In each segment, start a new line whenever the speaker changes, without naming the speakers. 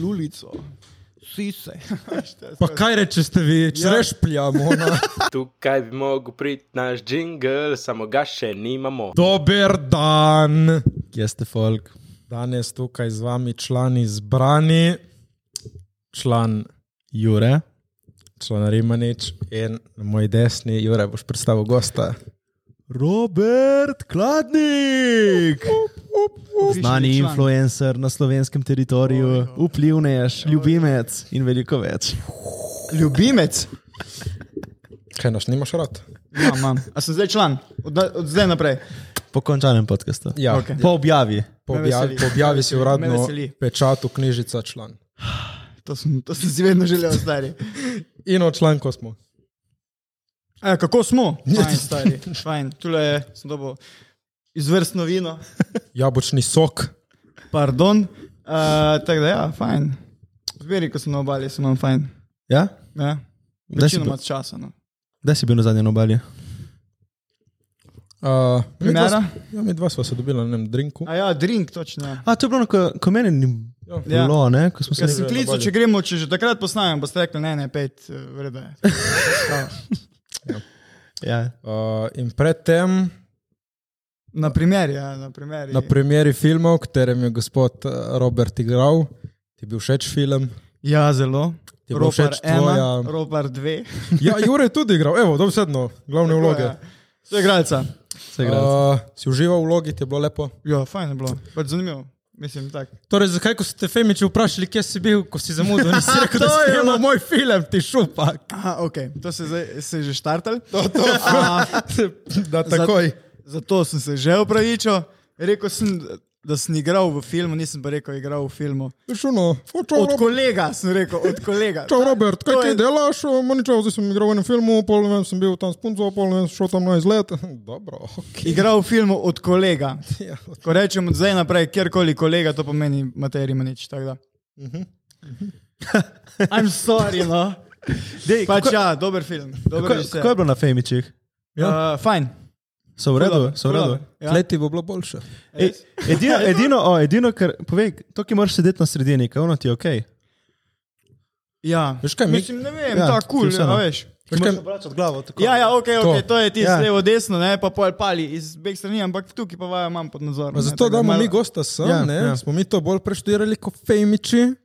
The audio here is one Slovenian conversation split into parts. lulico. Sise.
Pa kaj reče, ste vi, če
Ja.
reš pljamo? no. ona?
Tukaj bi mogel priti naš jingle, samo ga še nimamo.
Dober dan.
Kje ste folk?
Danes tukaj z vami član izbrani, član,
Jure.
član Rimanič in na moji desni, Jure, boš predstavil gosta.
Robert Kladnik. Znani influencer na slovenskem teritoriju, vplivnež, ljubimec in veliko več.
Ljubimec,
Kaj nas nimaš rad?
ja, imam. A sem zdaj član, od, na- od zdaj naprej.
Po končanem podkastu.
Ja,
Okej.
Po objavi.
po,
Me
objavi,
veseli.
po objavi si
Me
uradno
veseli.
pečatu knjižica član.
To sem, to sem si vedno želel, stari.
In o članku smo.
E, kako smo? Fajn, stari. Fajn. Tule je, sem dobil izvrstno vino.
Jabočni sok.
Pardon. Uh, tako da, ja, fajn. Zberi, ko sem na obali, sem vam fajn.
Ja?
Ja.
Kdaj si,
Večinoma
bil,
od časa. No.
kdaj si bil na zadnjem obali?
Uh, mi, dva,
Primera?
s- ja, mi dva sva se dobila na enem drinku.
A ja, drink, točno. ja.
A, to je bilo, ko, ko meni ni
Ja.
bilo, ne? Ko smo se
Jaz sem
nekaj...
klical, če gremo, če že takrat postanem, boste rekli, ne, ne, pet, vreda je.
Ja.
Uh, in predtem
Na primer, ja, na primer.
Na premjeri filma, v katerem je gospod eh, Robert igral, ti je bil všeč film.
Ja, zelo.
Ti bo
Ropar
všeč tvoja-
1, Ropar 2.
Ja, Jure je tudi igral, evo, dobesedno, glavne vloge.
Ja. To je igralca.
Uh,
Uh, si užival v vlogi, ti je bilo lepo.
Ja, fajn je bilo, pač zanimivo. Mislim, tako.
Torej, zakaj, ko ste Femiči vprašali, kje si bil, ko si zamudil, nisi rekel, da si imel moj film, ti šupak.
Aha, ok, to se, zdaj, se je že štartal.
Da, takoj.
Zato sem se že upravičil. Rekel sem, da sem igral v filmu, nisem pa rekel, igral v filmu.
Šuno,
Od
čau,
kolega sem rekel, od kolega.
čau, Robert, kaj
To je-
ti delaš? Maničal, zdaj sem igral v enem filmu, pol ne vem, sem bil tam s punco, pol ne vem, sem šel tam na izlet. Dobro, ok.
Igral v filmu od kolega.
Ja,
Ko rečem od zdaj naprej, kjerkoli kolega, to pomeni Matej Rimanič. tako da.
Mhm.
Mhm. I'm sorry, no.
Dej,
Pač
kako,
ja, dober film. Dober
kako, kako je bilo na Femičih?
ja. uh, fajn.
So v redu, so v redu.
Ja.
Tlej ti bo bilo boljše.
E, edino, edino, o, edino, kar povej, to, ki moraš sedeti na sredini, kaj ono ti je ok.
Ja.
Veš kaj, mi-
Mislim, ne vem,
Ja,
ja, tako kul, cool,
ti vseeno.
ja, veš.
Veš kaj,
obračati glavo. Tako,
Ja, ja, ok, okay to.
To.
to je ti
Ja.
ja. levo, desno, ne, pa pol pali iz beg strani, ampak tukaj pa vaja imam pod nadzorom. ne,
Pa
tako
Zato
da
damo
malo-
mi gosta sem, ja,
Ja,
ne? Ja.
ja.
Smo mi to bolj preštudirali kot fejmiči.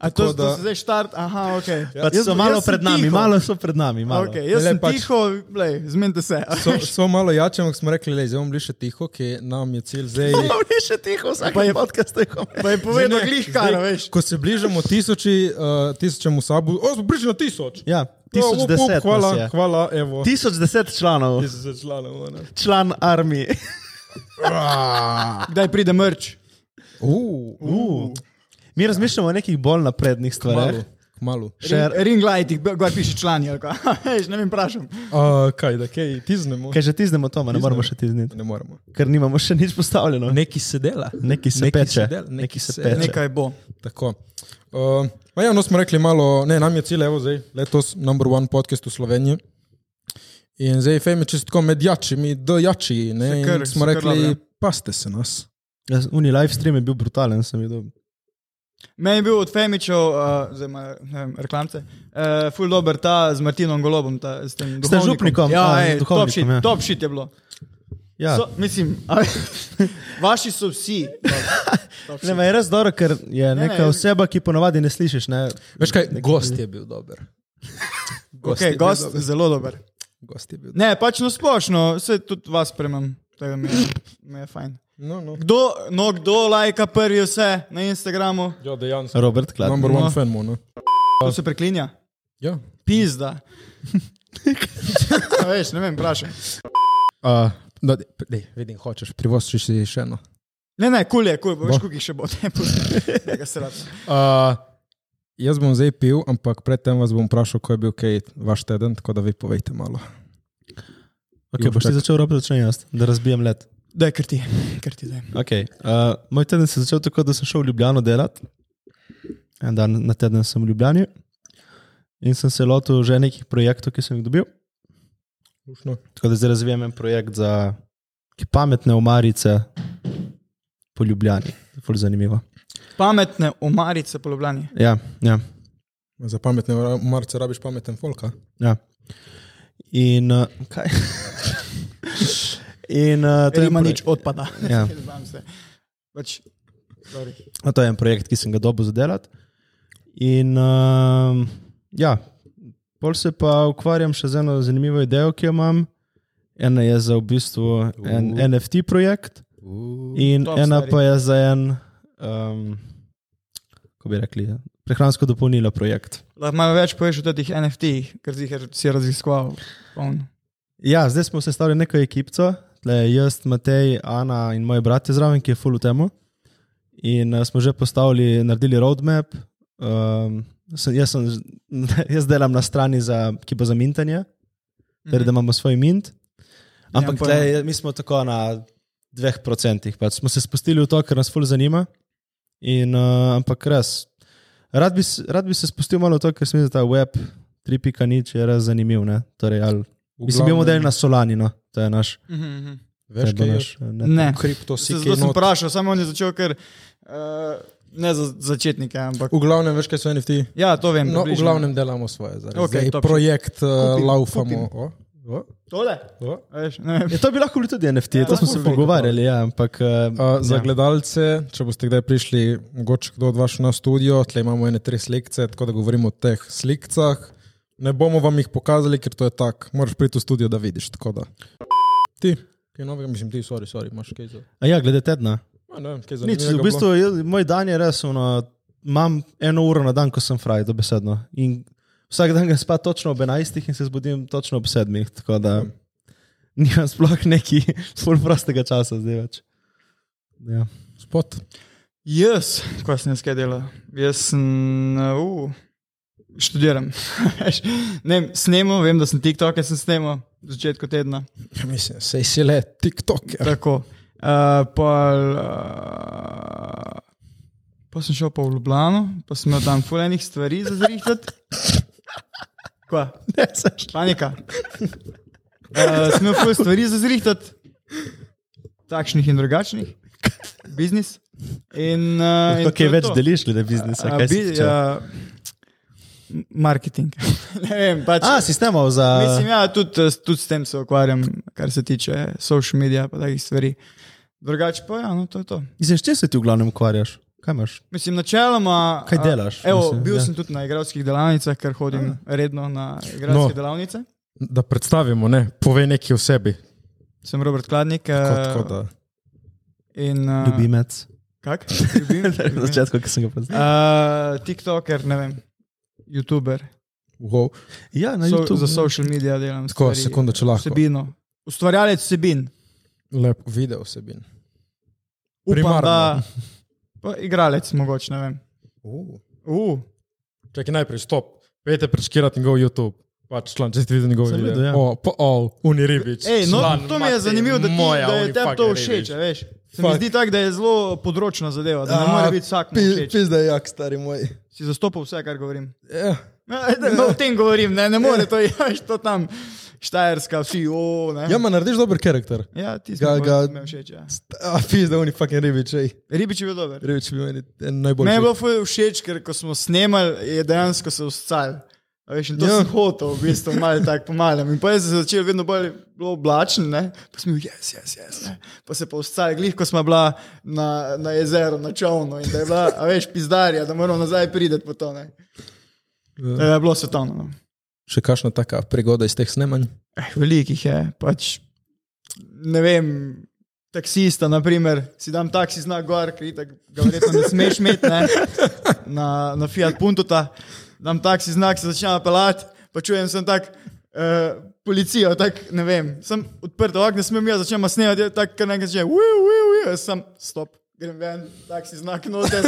A to,
tako da-
da... to zdaj štart, aha, ok. Ja.
Pač so malo pred nami, tiho. malo so pred nami. Malo.
Okay, jaz
Lej,
sem
pač-
pač... tiho, lej, zmenite se.
So, so malo jačem, ampak smo rekli, da je zelo še tiho, ki nam je cilj zdaj.
ni še tiho, vsak
Pa je-
podkast tako.
Pa je povedal glih kar,
zdaj,
veš.
Ko se bližamo tisoči, uh, tisočemu sabu, o, smo bližali na tisoč.
Ja,
Ja, up, up,
1010.
hvala,
nas je.
hvala, evo.
1010 članov,
Tisoč članov. ne.
član armije.
Kdaj pride mrč?
Uh,
Uh. Mi razmišljamo o nekih bolj naprednih
kmalu,
stvareh.
kmalu.
Še-
Ring, ring light, gor piše člani, ali kaj. Veš, ne vem, vprašam.
Uh, kaj, da kaj, tiznemo?
Kaj že tiznemo to, ne
Tiznemo.
moramo še tizniti,
Ne moremo.
ker nimamo še nič postavljeno.
Neki se dela.
Neki se
Nekaj se
peče,
dela, nekaj
neki se
se-
peče.
Nekaj bo.
Tako. Uh, ma ja, no smo rekli malo, ne, nam je cilj, evo zdaj, letos number one podcast v Sloveniji. In zdaj fame je čisto tako med jačimi, do jači, ne,
Se
in
kar-
smo
se kar
rekli,
dobro.
paste se nas.
Ja, Uni live stream je bil brutalen, sem videl.
Meni je bil od Femičev, uh, zdaj ima ne vem, reklamce, uh, ful dober ta z Martinom Golobom, ta, s tem duhovnikom.
župnikom, a,
Ja,
z
ej, top
duhovnikom,
shit,
ja.
ja. top shit je bilo.
Ja.
So, mislim, a, vaši so vsi.
Ne, ma je res dobro, ker je
ne,
neka
jaz-
oseba, ki ponovadi ne slišiš. Ne?
Veš kaj, gost je bil dober.
Gost,
je
okay,
bil
gost
dober.
zelo dober.
Gost je bil dober.
Ne, pač na splošno, vse tudi vas premem, tega mi je, mi je fajn.
No, no.
Kdo, no, kdo lajka prvi vse na Instagramu,
Ja, dejansko.
Robert Klad.
Number one no.
No.
fan, mono.
to se preklinja.
Ja.
Pizda. A veš, ne vem, vprašaj.
Uh, da, dej, vidim, hočeš, privoščiš si še eno.
Ne, ne, kul je, kul, bo, veš,
Bo.
kuki še bo tempo. Tega se rad.
Uh, jaz bom zdaj pil, ampak predtem vas bom vprašal, ko je bil kaj vaš teden, tako da vi povejte malo.
Okay, boš ti začel, Robert, začne jaz, da razbijem let.
Daj, ker ti, ker ti daj.
Okay. Uh, moj teden se je začel tako, da sem šel v Ljubljano delati. En dan na teden sem v Ljubljani in sem se lotil že nekih projektov, ki sem jih dobil.
Lušno.
Tako da zdaj razvijem en projekt za neke pametne omarice, po Ljubljani. Ful zanimivo.
Pametne omarice po Ljubljani.
Ja, ja.
Za pametne ra- marce rabiš pameten folka.
Ja. In uh, kaj? In uh, to, je
Ima
pro-
nič odpada.
Ja.
Znam se. Pač, sorry.
no, to je en projekt, ki sem ga dobil zadelati. In uh, ja, pol se pa ukvarjam še z eno zanimivo idejo, ki jo imam. Ena je za v bistvu en
Uh.
NFT projekt,
Uh,
in
Top,
ena
stari.
pa je za en, um, kako bi rekli, prehransko dopolnilo projekt.
Lahko malo več poveš o teh NFT-jih, ker si jih si raziskoval. Poln.
Ja, zdaj smo sestavili neko ekipo, jaz, Matej, Ana in moj brat je zraven, ki je full v temu. In uh, smo že postavili, naredili roadmap. Um, sem, jaz, sem, z- jaz delam na strani, za, ki bo za mintanje, torej, da imamo svoj mint. Ampak
Nimam pojma.
tle, mi smo tako na 2%, pač smo se spustili v to, ker nas full zanima. In, uh, ampak res, rad bi, s- rad bi se spustil malo v to, ker se mi zdi ta web 3.0 je res zanimiv. Ne? Torej, ali
V
Mislim, mi imamo
glavnem,
del na Solani, no. to je naš.
Mhm, mhm.
Veš, kaj
to je
je
bil
naš?
naš. Ne.
Ne,
Kripto si
Se-
kaj
zato sem
not.
vprašal, samo on je začel, ker uh, ne za začetnike, ampak.
V glavnem, veš, kaj so NFT?
Ja, to vem.
No, v
približno.
glavnem delamo svoje. zares.
Okej,
Zdaj
top.
projekt uh,
Kupim,
laufamo. O, o,
Tole?
o.
A Veš, ne vem.
Ja, to bi lahko bili tudi NFT, ja, to
lahko
smo se
bi bilo.
pogovarjali, ja, ampak.
Uh, za
ja.
ja. gledalce, če boste kdaj prišli, mogoče kdo od vas na studio, tle imamo ene tri slike, tako da govorimo o teh slikah. Ne bomo vam jih pokazali, ker to je tako. Moraš priti v studio, da vidiš. tako Da. Ti, kaj novega, mislim, ti, sorry, sorry, imaš kaj za.
A ja, glede tedna.
A, ne vem, kaj za
Nič, v bistvu, jaz, moj dan je res, ono, imam eno uro na dan, ko sem fraj, dobesedno. In vsak dan ga spa točno ob 11 in se zbudim točno ob 7. Tako da nimam sploh neki full prostega časa zdaj več. Ja.
Spot.
Jaz, ko sem jaz kaj delal, jaz sem, uh, študiram. Veš, ne, vem, snemo, vem, da sem TikTok, sem snemo v začetku tedna.
Ja, mislim, sej si le TikTok. Ja.
Tako. Uh, pol, uh, pa sem šel pa v Ljubljano, pa sem imel tam fulejnih stvari za zrihtati. Kva?
Ne, saj.
Panika. Uh, Smo ful stvari za zrihtati, takšnih in drugačnih, biznis. In, uh, in
Lahko
to je
kaj več
to.
deliš, glede biznisa.
A,
kaj si
bi-
počel?
ja, m- marketing. ne vem, pač.
A, si snemal za.
Mislim, ja, tudi, eh, tudi s tem se ukvarjam, kar se tiče social medija in takih stvari. Drugače pa, ja, no, to je to.
Mislim, s čim se ti v glavnem ukvarjaš? Kaj imaš?
Mislim, načeloma.
Kaj
a,
delaš?
Evo,
Mislim,
mislim, bil
ja.
ja. sem tudi na igralskih delavnicah, ker hodim redno na igralske
No.
no. delavnice.
Da predstavimo, ne, povej nekaj o sebi.
Sem Robert Kladnik.
Kot,
eh,
kot, da.
In, uh,
Ljubimec.
Kak? Ljubim,
Na
ljubim.
začetku, ki sem ga poznal.
Uh, TikToker, ne vem, YouTuber.
wow.
Ja, na
So,
YouTubu.
za social medije delam.
Tako,
stvari,
sekundo, če lahko.
Vsebino. Ustvarjalec vsebin.
Lep video vsebin.
Upam,
Primarno.
da. Pa igralec, mogoče, ne vem.
Uh.
Uh,
Čakaj, najprej stop. Pejte prečkirati njegov YouTube. Pač član, če ste videli njegov
Sem
video.
videl, ja.
O, pa, o, uni ribič.
ej, no,
Član,
to mi je
mati
zanimivo, da, ti,
moja,
da je
oni
tebi
fuck
to
ribič.
všeč. a Veš. Se mi
Fuck.
zdi tako, da je zelo področna zadeva, da ne
A,
more biti vsak.
Pi- Pizda je jak, stari moj.
Si zastopal vse, kar govorim.
Ja.
No, o tem govorim, ne, ne more to, ja, to tam, Štajerska, vsi, o, ne.
Ja, ma narediš dober karakter.
Ja, ti si
Ga- ga-
mi všeč. Ja.
St- A, pizda, uni fucking ribič, ej.
Ribič je bil dober.
Ribič bi meni en najbolj.
Meni je bilo ful všeč, ker ko smo snemali, je dejansko se uscal. A Veš, in to
Ja.
ja. sem hotel, v bistvu, malo tako pomalem. In pa je se začel vedno bolj bilo oblačen, ne? pa sem bil, jaz, jaz, jaz. Pa se pa uscal, glih, ko smo bila na, na jezeru, na čovnu in da je bila, a veš, pizdarja, da moramo nazaj priti po to. Ne?
Ja.
Da je bilo svetovno. no.
Še kakšna taka prigoda iz teh snemanj?
Eh, velikih je, pač ne vem. Taksista, na primer, si dam taksi znak gor, ker itak ga verjetno ne smeš imeti ne? na, na Fiat Puntuta. Dam taksi znak, se začnem pelati, pa čujem sem tak. Uh, policijo, tako ne vem, sem odprt, okno smem, jaz začnem snemati, tako kar nekaj že, uf, uf, uf, sem stop, grem ven, taksi znak noter,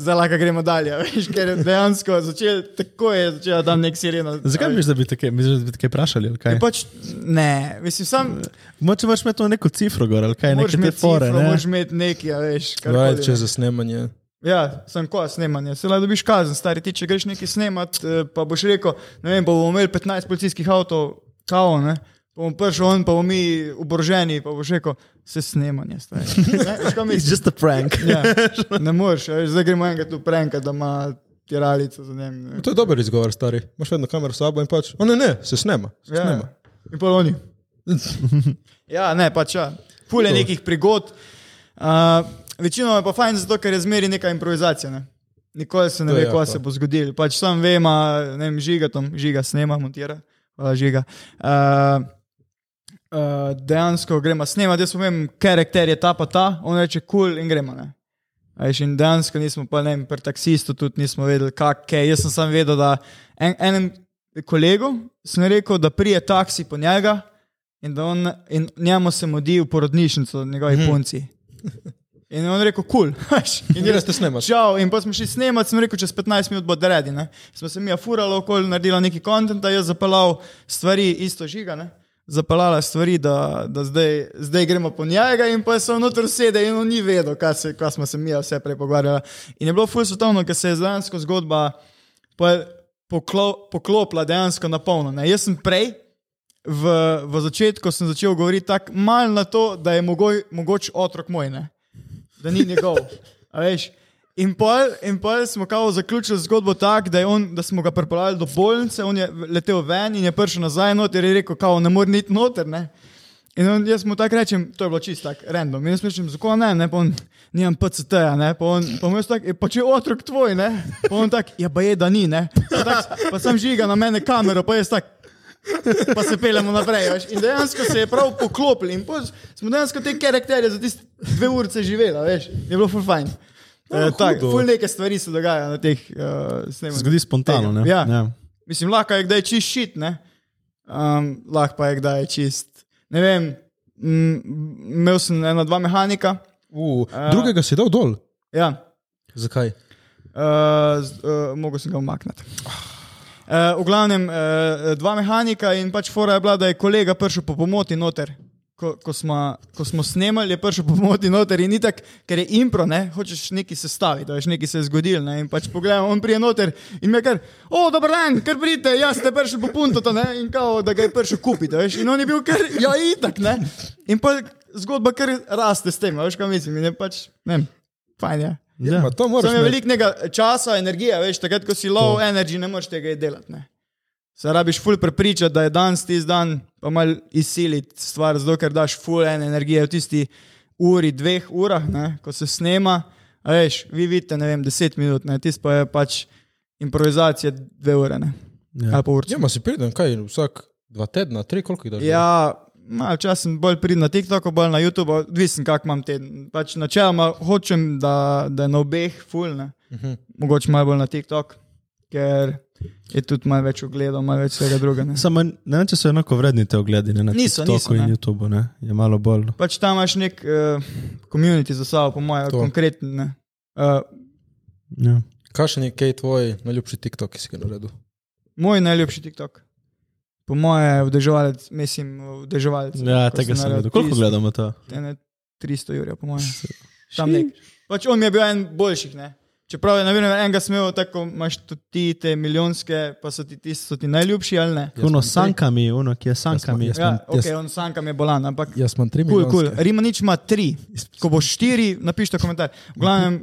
zdaj lahko gremo dalje. Veš, ker je dejansko začel, tako je začela tam nek sirena.
Zakaj misliš, da bi te kaj, misliš, da bi te kaj vprašali? ali Kaj?
Ja, pač, ne, mislim, sam
Moče imaš imeti to neko cifro gor, ali kaj,
moraš
neke te
imeti
fore.
cifro,
ne?
moraš imeti nekaj, a veš. karkoli,
Vaj, če
ne.
za snemanje.
Ja, sem ko snemanje, se lahko dobiš kazen, stari ti, če greš nekaj snemat, eh, pa boš rekel, ne vem, bomo imeli 15 policijskih avtov, kao, ne. Pa bom prišel on, pa bomo mi oboroženi, pa bo še rekel, se snemanje stane.
It's just a prank.
Ja, ne moreš, a veš, zdaj gremo enega tu prenka, da ima tiralico za njim. ne.
To je dober izgovor, stari. Imaš vedno kamero s sabo in pač, o ne, ne, se snema. Se
Ja.
snema.
In pa oni. Ja, ne, pač ja. Fule nekih prigod. Uh, večinoma je pa fajn, zato ker je zmeri neka improvizacija. Ne? Nikoli se ne
To
ve,
je
kaj
to.
se bo zgodilo. Pač sam vem, a, ne vem, žiga tam, žiga snema, montira, hvala žiga. Uh, Uh, dejansko gremo snemati, jaz povem, karakter je ta pa ta, on reče kul cool in gremo. Ne? A Veš, in dejansko nismo, pa ne vem, pri taksistu tudi nismo vedeli, kako je. Jaz sem samo vedel, da en, enem kolegu sem rekel, da prije taksi po njega in da on, in njemu se modi v porodnišnico, njegovi mm. punci. In je on je rekel, kul. Cool.
In greš te snemati.
Čau, in pa smo šli snemati, sem rekel, čez 15 minut bo deredi. Ne? Smo se mi afurali okoli, naredila neki kontent, jaz zapeljal stvari, isto žiga. Ne? Zapeljala stvari, da, da zdaj, zdaj gremo po njega, in pa so noter sede, in on ni vedel, kaj, se, kaj smo se mi ja vse prej pogovarjali. In je bilo fulj svetovno, ker se je dejansko zgodba pa- poklo, poklopila dejansko na polno. ne. Jaz sem prej, v, v začetku sem začel govoriti tako malo na to, da je mogoj, mogoč otrok moj, ne? da ni njegov. a veš. In pol, in pol smo kao zaključili zgodbo tako, da, je on- da smo ga pripeljali do bolnice, on je letel ven in je prišel nazaj noter in je rekel, kao, ne morem iti noter. Ne? In on, jaz mu tako rečem, to je bilo čisto tako, random. In jaz mu rečem, zakaj ne, ne, pa on, nimam PCT-ja, ne, pa on, pa mu jaz tako, "Ja, pa če je otrok tvoj, ne, pa on tako, ja, pa je, da ni, ne. Pa, tak, pa sem žiga na mene kamero, pa jaz tako, pa se peljemo naprej. Veš. In dejansko se je prav poklopil in pol smo dejansko te karakterje za tiste dve urice živela, veš, je bilo full fajn.
Ja,
E, tako,
hudo.
ful neke stvari se dogajajo na teh uh, snemanjih.
Zgodi spontano. Ne?
Ja.
Ja.
Mislim, lahko je kdaj čist šit, ne? Um, lahko pa je kdaj čist. Ne vem, mm, imel sem ena dva mehanika.
Uh, drugega si dal dol.
Ja,
Zakaj?
Uh, z- uh, mogel sem ga umakniti. Uh, v glavnem, uh, dva mehanika in pač fora je bila, da je kolega prišel po pomoti noter. Ko, ko, smo, ko smo snemali, je prišel po pomoti noter in itak, ker je impro, ne, hočeš nekaj sestaviti, veš, nekaj se je zgodilo. Ne, in pač pogledam, on prije noter in me kar, o, dober dan, kar pridite, jaz ste prišel po punto, to, ne, in kao, da ga je prišel kupiti, veš, in on je bil kar, ja, itak, ne. In pa zgodba kar raste s tem, a veš, kaj mislim, in je pač, ne, vem, fajn je. Ja.
Ja. Ma, to moraš
Samo je
imeti.
veliko nekega časa, energije, veš, takrat, ko si low to. energy, ne moreš tega delati. Ne? Se rabiš ful prepričati, da je danes tisti dan, pa mal izsiliti stvar, zato ker daš ful ene energije v tisti uri, dveh urah, ne? ko se snema. A veš, vi vidite, ne vem, deset minut, ne? tisti pa je pač improvizacija dve ure, ne? Ja. Ali pa urca.
Ja, ma si pridem, kaj, vsak dva tedna, tri, koliko jih daš? dol?
Ja, malo čas sem bolj pridn na TikToku, bolj na YouTube, odvisen kak imam teden. Pač načeloma hočem, da, da je na obeh fulne. Uh
Mhm.
-huh. Mogoče malo bolj na TikTok, ker je tudi malo več ogledov, malo več vsega drugega. ne.
Samo ne vem, če so enako vredni te ogledi ne, na
Niso, niso,
TikToku in
ne.
YouTubu. Ne? Je malo bolj.
Pač tam imaš nek komunit uh, za sabo, po mojem,
To.
konkreten. ne. Uh,
Ja.
Kakšen je kaj tvoj najljubši TikTok, ki si ga naredil?
moj najljubši TikTok. Po mojem, vdeževalec, mislim, vdeževalec.
Ja,
ko
tega sem
naredil
videl. Koliko
tisto-
gledamo to?
ene 300 jurjev, po mojem. Tam nek. Pač on mi je bil en boljših, ne. Čeprav je na primer enega smel, tako imaš tudi ti te milijonske, pa so ti, ti, so ti najljubši ali ne.
Uno s sankami, uno, ki je s sankami.
Ja, jaz-
Ja, ok,
jaz-
on sanka mi je bolan, ampak
Jaz imam tri
kul,
minute.
kul. Rima nič ima tri. Ko bo štiri, napišite komentar. V glavnem,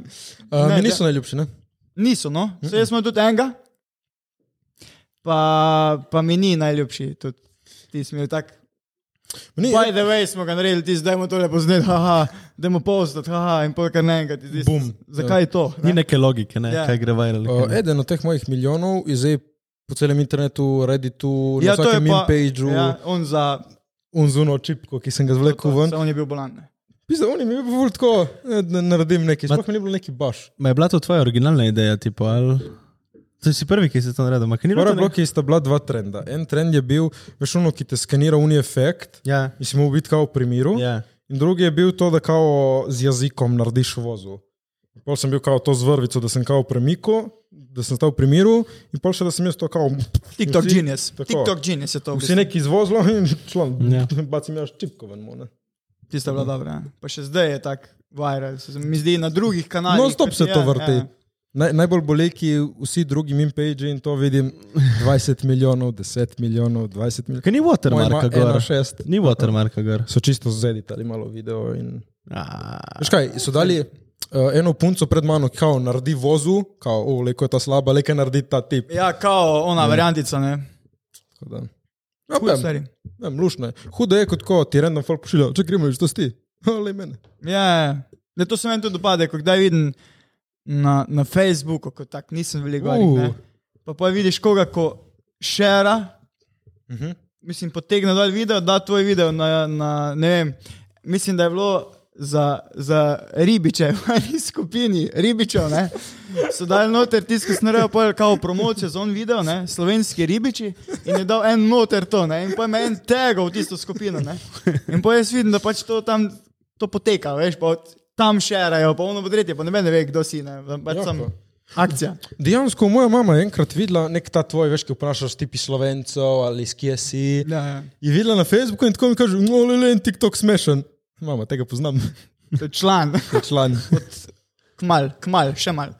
Ne,
Uh,
ja.
mi
da-
niso najljubši, ne?
niso, no. Vse jaz smo tudi enega, pa, pa mi ni najljubši. Tudi. Ti smo tako
Ni,
By the way, smo ga naredili, ti zdaj mu tole poznati, haha, da mu postati, haha, in pa kar naenkrat. ti zdaj-
Bum. Ja.
Zakaj je to?
Ni neke logike, ne?
Ja.
kaj gre viral. kaj
uh,
ne.
eden od teh mojih milijonov je zdaj po celem internetu, Redditu, ja, na
to je
vsakem
pa-
impageu,
Ja,
ja.
on za.
unzuno čipko, ki sem ga
to,
zvlekel ven.
saj On je bil bolan. ne.
Pisa, on je mi je bilo tako, eh, da naredim nekaj, sploh mi ni bilo neki baš.
Ma je bila to tvoja originalna ideja, tipo, ali... To si prvi, ki si to naredil, ampak ni bilo
Prva
to nek-
bloki sta bila dva trenda. En trend je bil, veš, ono, ki te skenira unij efekt,
Ja,
mislim, v biti kao v primeru.
ja.
In drugi je bil to, da kao z jezikom narediš vozu. In Pol sem bil kao to z vrvico, da sem kao premiko, da sem stal v primeru in pol še da sem jaz to kao.
TikTok
Vsi-
genius.
tako.
TikTok genius je to. v
Vsi
bistvu.
neki izvozlo in član,
Ja.
yeah. bacim jaz čipko ven. mu, ne.
Tista je bila dobra. ja. Pa še zdaj je tak viral. se mi zdi na drugih kanalih.
Non-stop se
Ja,
to vrti.
ja.
Naj, najbolj boli, ki vsi drugi minpage in to vidim 20 milijonov, 10 milijonov, 20 milijonov.
Ker ni watermarka gor.
1,6.
Ni watermarka gor.
So čisto zeditali malo video. In...
Ah,
Veš kaj, so dali uh, eno punco pred mano, ki kao naredi vozu, kao, o, leko je ta slaba, leko naredi ta tip.
Ja, kao ona variantica, ne.
Tako da. Ja,
Fuj,
vem,
stari.
vem, lušne. Hudo je kot ko ti random folk pošilja, če gremo, že to si ti. Ali mene.
Ja, da to se meni tudi dopade, ko kdaj vidim na, na Facebooku, ko tak nisem veliko gledal. Uh.
Uh.
Pa pa vidiš koga, ko šera,
Uh -huh.
mislim, potegne dol video, da tvoj video na, na ne vem, mislim, da je bilo za, za ribiče, v eni skupini ribičev, ne, so dali noter tisto, ki snarajo pol kao promocijo za on video, ne, slovenski ribiči in je dal en noter to, ne, in pa ima en tega v tisto skupino, ne, in pa jaz vidim, da pač to tam, to poteka, veš, pa od, tam šerajo, pa ono bo tretje, pa ne vem, ne ve, kdo si, ne, pač
Ja,
sem
pa.
akcija.
Dejansko moja mama je enkrat videla nek ta tvoj, veš, ki vprašaš tipi slovencev ali iz kje si.
Ja, ja.
Je videla na Facebooku in tako mi kaže, no, le, le, en TikTok smešen. Mama, tega poznam,
To je član,
kot član.
kmal, kmal, še mal.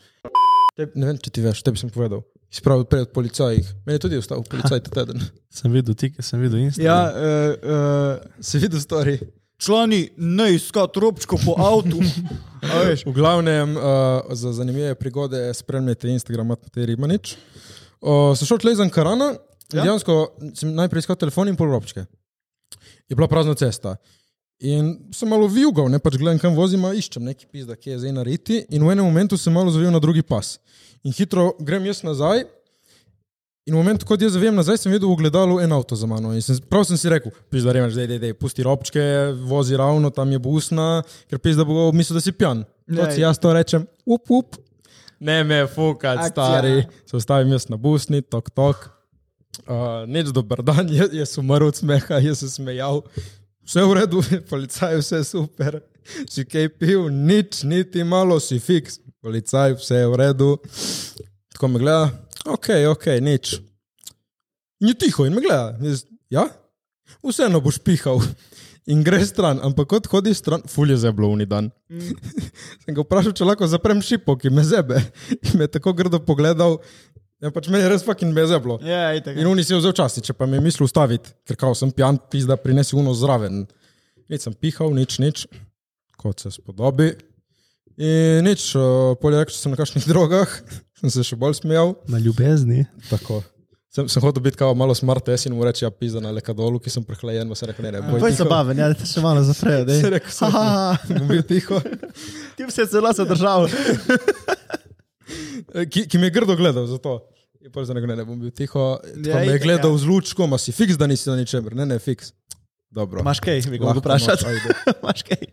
Ne vem, če ti veš, tebi sem povedal. Spravil pred policajih. Meni je tudi ostal policaj ta teden.
sem videl tike, sem videl Instagram.
Ja, uh, uh,
Si videl stvari?
člani ne iskati robčko po avtu. A veš,
V glavnem, uh, za zanimive prigode spremljajte Instagram, Matej Ribanič. Uh, sem šel tleh za Ankarana, ja? dejansko sem najprej iskal telefon in polrobčke. Je bila prazna cesta. In sem malo vijugal, ne pač gledam, kam vozim, a iščem neki pizda, ki je zdaj narediti. In v enem momentu sem malo zavil na drugi pas. In hitro grem jaz nazaj. In v momentu, ko jaz zavem nazaj, sem videl v gledalu en avto za mano. In sem, prav sem si rekel, pizda, rečeš, zdaj, zdaj, zdaj, pusti robčke, vozi ravno, tam je busna, ker pizda bo mislil, da si pijan. To
Lej.
si jaz to rečem, up, up. Ne me
Akcija.
fukat, stari. Se ustavim jaz na busni, tok, tok. Uh, nič dober dan, jaz, jaz sem umrl od smeha, jaz sem smejal. Vse v redu, policaj, vse super. Si kaj pil, nič, niti malo, si fiks. Policaj, vse je v redu. Tako me gleda, ok, ok, nič. In je tiho in me gleda. Jaz, ja, vseeno boš pihal. In greš stran, ampak kot hodiš stran, fulje zeblovni dan. Sem ga vprašal, če lahko zaprem šipo, ki me zebe. In me je tako grdo pogledal, ja, pač me je res fucking me zeblo.
ja, itak.
In oni si je vzel čas, če pa me je mislil ustaviti, ker kao sem pijan, pizda prinesi uno zraven. Nisem pihal, nič, nič, kot se spodobi. In nič, eh, polje rekel, če sem na kakšnih drogah, sem se še bolj smejal.
Na ljubezni.
Tako. Sem, sem hotel biti kao malo smart, jaz in mu reči, ja, pizda na lekadolu, ki sem prehlajen, pa se rekel, ne, ne, boj.
To je zabaven, ja, da te še malo zaprejo.
Se
daj.
rekel, sem bom bil tiho.
Ti si se celo zadržal.
E, Ki, ki me je grdo gledal za to. Je pa zdaj ne, ne bom bil tiho. Ja, me je
itak, ja.
gledal ja. z lučkom, a si fiks, da nisi na ničemer, ne, ne, fiks. Dobro.
Imaš kaj, mi ga
Lahko
lahko vprašaš.
imaš, ajde.
Imaš kaj.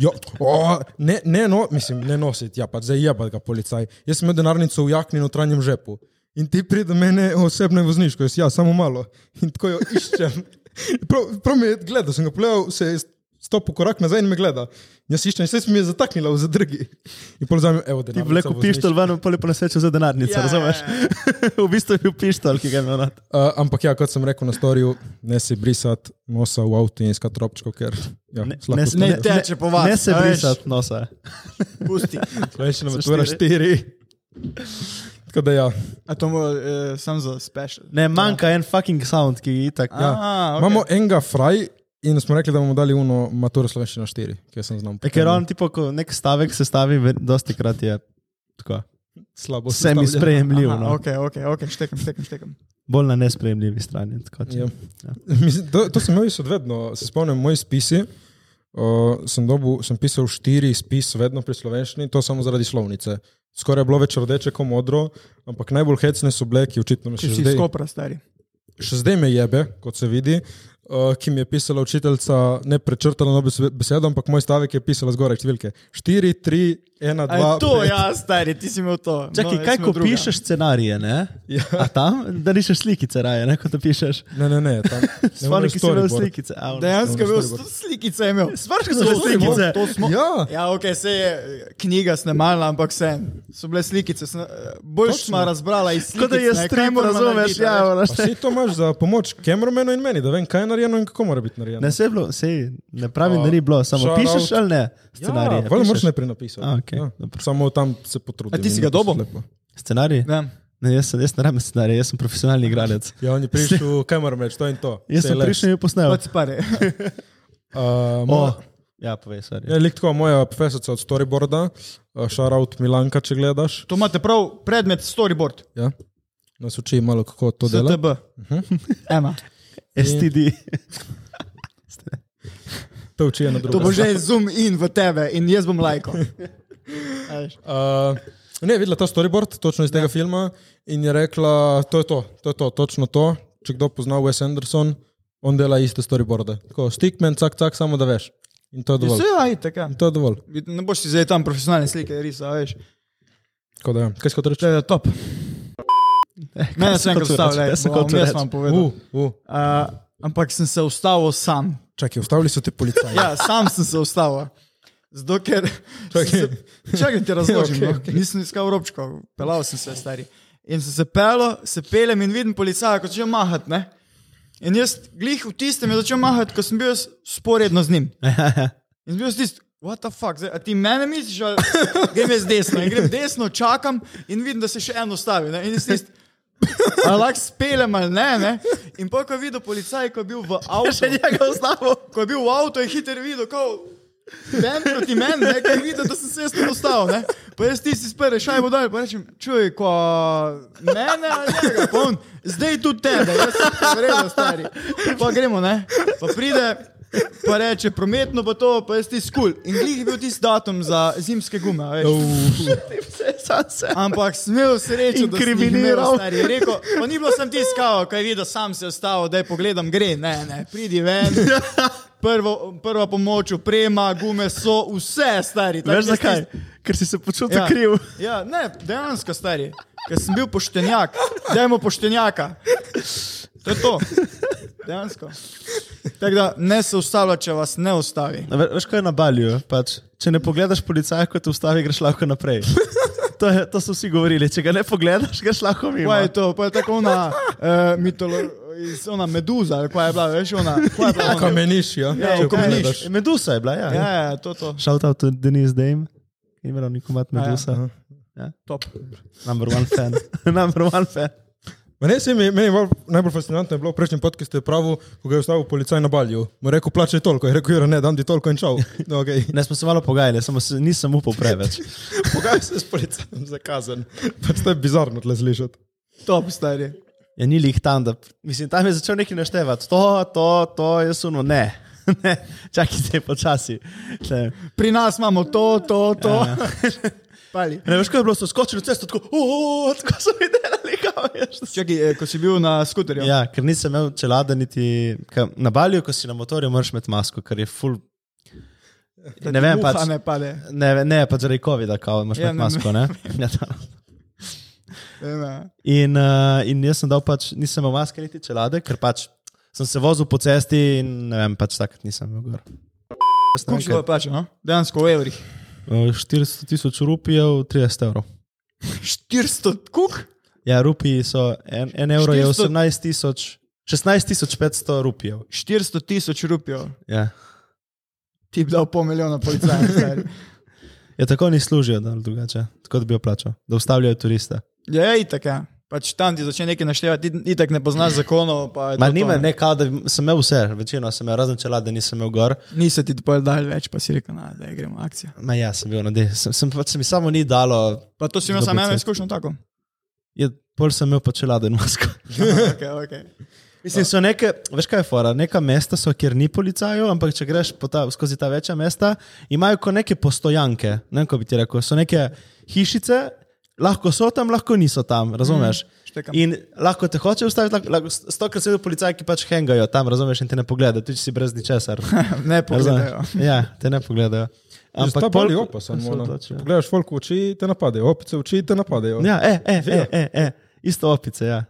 Jo, o, ne, ne, no, mislim, ne nositi, ja, pa zdaj je pa ga policaj. Jaz sem imel denarnico v jakni v notranjem žepu. In ti pride do mene osebno vozniško, jaz ja, samo malo. In tako jo iščem. Prav, prav me je gledal, sem ga pogledal, se je stopil korak nazaj in me gleda. In jaz iščem, in se mi je zataknila v zadrgi. In polzam, evo, da
Ti vleko pištol ven, pa lepo nesrečo za denarnico,
Ja,
razumeš?
ja,
v bistvu je bil pištol, ki ga je imel. not.
Uh, ampak ja, kot sem rekel na storju, ne si brisati nosa v avtu in iskati robčko, ker ja, slabo
ne teče po vas,
Ne se
a veš.
brisati no, nosa.
ja. Pusti.
Slejši nam
so
otvora
štiri.
štiri. Tako da ja.
A to mora uh, sam za special.
Ne, manjka en fucking sound, ki je itak.
Ja. Aha,
Okay.
okay.
Imamo enega fraj in smo rekli, da bomo dali uno maturo slovenščino 4, ki sem znal.
Ja, Ker on tipo, ko nek stavek sestavi, ve- dosti krat je tako.
slabo
Vse mi
sestavljen.
sprejemljiv,
Aha,
no.
Ok, ok, ok, štekam, štekam, štekam.
bolj na nesprejemljivi strani. Tako, če-
Ja.
No,
Mislim, To, to sem imel jaz vedno, se spomnim, moji spisi. Uh, sem, dobil, sem pisal štiri spise, vedno pri slovenščini, to samo zaradi slovnice. Skoraj je bilo več rdeče, kot modro, ampak najbolj hecne so bile, ki očitno me
Če
še
si
zdaj,
skopra, stari.
še zdaj me jebe, kot se vidi, uh, ki mi je pisala učiteljica, ne prečrtala nobe sve- besede, ampak moj stavek je pisala zgoraj številke. 4, 3, 1,
A je
2.
to, ja, stari, ti si imel to. No,
Čakaj,
jaz
kaj
sem
ko
imel druga.
pišeš scenarije, ne?
Ja.
A tam, da rišeš slikice raje, ne, kot da pišeš.
Ne, ne, ne, tam ne
Spomnim, ki si imel
storyboard.
slikice. a, ono.
Dejansko je bil
Storyboard.
slikice je imel.
Spomniš, ko so bile
To smo-
slikice?
To smo.
Ja,
Ja, ok, se je knjiga snemala, ampak vse. So bile slikice. sna- Bolj
Točno.
smo razbrala iz slikic.
Kot da
ne,
je
kaj
strip,
moramo
razumeš?
narediti, a
Ja,
veš.
ono,
Pa Saj to imaš za pomoč kameramenu in meni, da vem, kaj je narejeno in kako mora biti narejeno.
Ne, se je bilo, se je, ne pravim,
A,
da
Ja.
ni bilo, samo
shout
pišeš
out.
ali ne, scenarije.
Vali
pišeš?
Ja, moraš najprej napisati.
A, ok. Okay,
Ja,
dobro.
Samo tam se potrudim.
A ti si
in
ga
je to
dobil?
lepo.
Scenarij?
Ja.
Ne, jaz, sem- jaz ne rabim scenarija, jaz sem profesionalni igralec.
Ja, on je prišel, kamer meč, to in to.
Jaz sem prišel in posnel.
Od spare.
Uh,
O,
Pač-
ja, povej, sorry.
Je lik tako moja profesorica od storyboarda, šaraut Milanka, če gledaš.
To imate prav predmet storyboard.
Ja. Nas uči malo, kako to dela.
ZTB. Ema.
STD.
Te uči ena
To
druga.
bo že zoom in v tebe in jaz bom lajko.
Uh, ne, videla ta storyboard, točno iz tega filma, in je rekla, to je to, to je to, točno to. Če kdo pozna Wes Anderson, on dela iste storyboarde. Tako, stickman, cak, cak, samo da veš. In to je dovolj.
Vse je tako.
In to je dovolj.
ja. Ne boš si zdaj tam profesionalne slike risal, veš.
Tako da, ja. kaj si kot
To
reče?
je top. Mene sem
hotel reči?
ustavil,
Kaj
jaz
sem
sem kot
hotel
jaz
reči?
vam povedal.
Uh,
Uh,
uh.
ampak sem se ustavil sam.
Čakaj, ustavili so te policaje.
Ja, sam sem se ustavil. Zato, ker. sem Se, čakaj, da ti razložim. okay, okay. Nisem iskal robčkov, pelal sem se, stari. In sem se pel, se pelem in vidim policaja, ko začne mahati. Ne? In jaz glih v tistem je začel mahati, ko sem bil jaz sporedno z njim. In sem bil jaz tisti, what the fuck, zdaj, a ti mene misliš, ali grem jaz desno. In grem desno, čakam in vidim, da se še eno stavi. Ne? In jaz tisti. Ali lahko spelem ali ne, ne. In pa, ko je videl policaj, ko je bil v avtu,
njega ustavil.
ko je bil v avtu, je hiter videl, kako ben proti meni, ne, ker je videl, da sem se jaz tam ustavil. Ne. Pa jaz tisti spere, šaj bo dal, pa rečem, čuj, ko mene ali njega, pa on, zdaj tu tebe, jaz sem ti vredno stari. Pa gremo, ne. Pa pride, pa reče, prometno bo to, pa jaz ti skul. In glih je bil tisti datum za zimske gume, a veš. Ampak smel srečo, da sem jih imel,
Inkriminiral.
stari. Je Rekel, pa ni bilo sem tiskal, ko je videl, sam se je ustavil, da je pogledam, gre, ne, ne, pridi ven. Prvo, prva pomoč, oprema, gume so vse stari. Tako
Veš
da
zakaj?
stis-
Ker si se počutil ja. kriv.
Ja, ne, dejansko stari. Ker sem bil poštenjak, dajmo poštenjaka. To je to. Dejansko. Tako da ne se ustavlja, če vas ne ustavi.
A ve- Veš, kaj je na balju? Pač, če ne pogledaš policaja, ko te ustavi, greš lahko naprej. To, je, to so vsi govorili. Če ga ne pogledaš, greš lahko
Kaj je
mimo.
to? Pa je tako ona, uh, mitolo, iz- ona meduza, ali kaj je bila, veš, ona. kaj je bila ona?
Kameniš, ja.
Ja,
Če
v kameniš.
pogledaš.
E, Medusa je bila, ja.
Ja, ja, to je to.
Shout out to Denise Dame, ki ima nikomat Medusa. Ja.
Top.
Number one fan. Number one fan.
Ma Ne, se mi, meni je bolj- najbolj fascinantno je bilo v prejšnjem podkastu, pravi, ko ga je ustavil policaj na Balju. Mu je rekel, plačaj toliko, je rekel, "Jure, ne, dam ti toliko in čau. No, okay.
Ne smo se malo pogajali, samo se, nisem upal preveč.
Pogajal se s policajem za kazen. Pač to je bizarno tle slišati.
Top, stari.
Ja, ni lih tam, da, mislim, tam je začel nekaj naštevati. To, to, to, jaz uno, ne. ne. Čakaj, zdaj počasi. Tle.
Pri nas imamo to, to, to. Ja. Pali.
Ne veš, kaj je bilo, so skočili v cesto, tako, "O, tako so mi delali, kam je.
Čakaj, eh, ko si bil na skuterju.
Ja, ker nisem imel čelada niti ka, na balju, ko si na motorju, moraš imeti masko, ker je full. Ne vem,
pač.
pač,
Ne pade.
ne, ne, pač zaradi COVID-a, kao, imaš
Ja,
ja,
ne, ne.
masko, ne? Ja, ta.
Ne.
In, uh, in jaz sem dal pač, nisem imel maske niti čelade, ker pač sem se vozil po cesti in ne vem, pač takrat nisem imel gor. Jaz ne vem,
Koliko je bilo plačano? pač, no? Dejansko v evrih.
kaj- eh, 400 tisoč rupijev, 30 evrov.
400 kuk?
Ja, rupiji so, en, en evro je
400
18 tisoč, 16 tisoč 500 rupijev.
400 tisoč rupijo.
Ja.
Ti bi dal pol milijona policajem. stari.
ja, tako ni služijo, da drugače, tako da bi jo plačal, da ustavljajo turiste.
Ja, ja, itak. Ja. Pač tam ti začne nekaj naštevati, ti itak ne poznaš zakonov. pa je
Ma
to to,
nima, ne, kao, da bi- sem imel vse, večino sem imel, razen čelade nisem imel gor.
Nisi ti dopolj dal več, pa si rekel, na, da je gremo akcija.
Ma ja, sem bil, no, de, sem, sem, pač se mi samo ni dalo,
Pa to si imel samo
Dobro,
eno
cest.
izkušnjo tako.
je, pol sem imel pa čelade in masko.
Aha, okay, okay.
Mislim, so neke, veš kaj je fora, neka mesta so, kjer ni policajev, ampak če greš po ta, skozi ta večja mesta, imajo kot neke postojanke, ne vem, kako bi ti rekel, so neke hišice, lahko so tam, lahko niso tam, razumeš?
štekam.
In lahko te hoče ustaviti, lahko- lahko stokrat sedijo policaji, ki pač hengajo tam, razumeš, in te ne pogledajo, tudi če si brez ničesar.
Ne pogledajo.
Razumeš? Ja, te ne pogledajo.
Ampak
pol-
bolj opa,
se
samo. ono,
odločijo.
če Pogledaš, folk v oči, te napadejo, opice v oči, te napadejo.
Ja, e, e, e, e, e. isto opice, ja.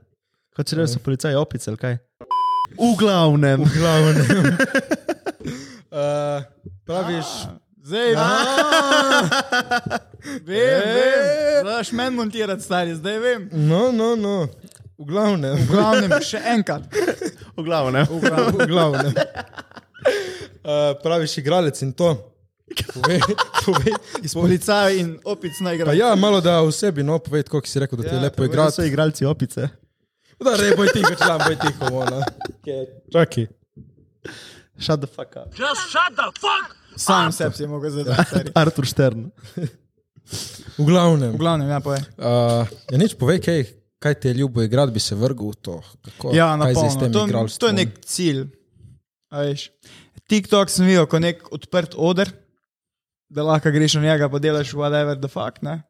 Hoče reči, da so policaji opice, ali kaj? V glavnem.
V glavnem. uh, praviš,
Zdaj, no. vem, vem, znaš meni montirati, stari, zdaj vem.
no, no, no, v glavnem.
V glavnem, še enkrat.
V glavnem.
V glavnem. Uh, praviš igralec in to. Povej, povej.
Policaj in opic naj
Pa
igra.
ja, malo da v sebi, no, povej, kako si rekel, da ti je lepo igrati.
So igralci opice.
Da, ne boj tiho, član, boj tiho, ona. Čakaj.
Shut the fuck up.
Sam sebi si mogel zadati. stari.
Artur Štern.
V glavnem.
V glavnem, ja, poje.
Uh, ja, nič povej, kaj, kaj ti je ljubo igrati, bi se vrgel v to. Kako,
Ja, na
kaj zdaj s
polno.
tem
To,
igralstvom?
to je nek cilj. a veš. TikTok sem videl kot nek odprt oder, da lahko greš na njega, pa delaš whatever the fuck. Ne?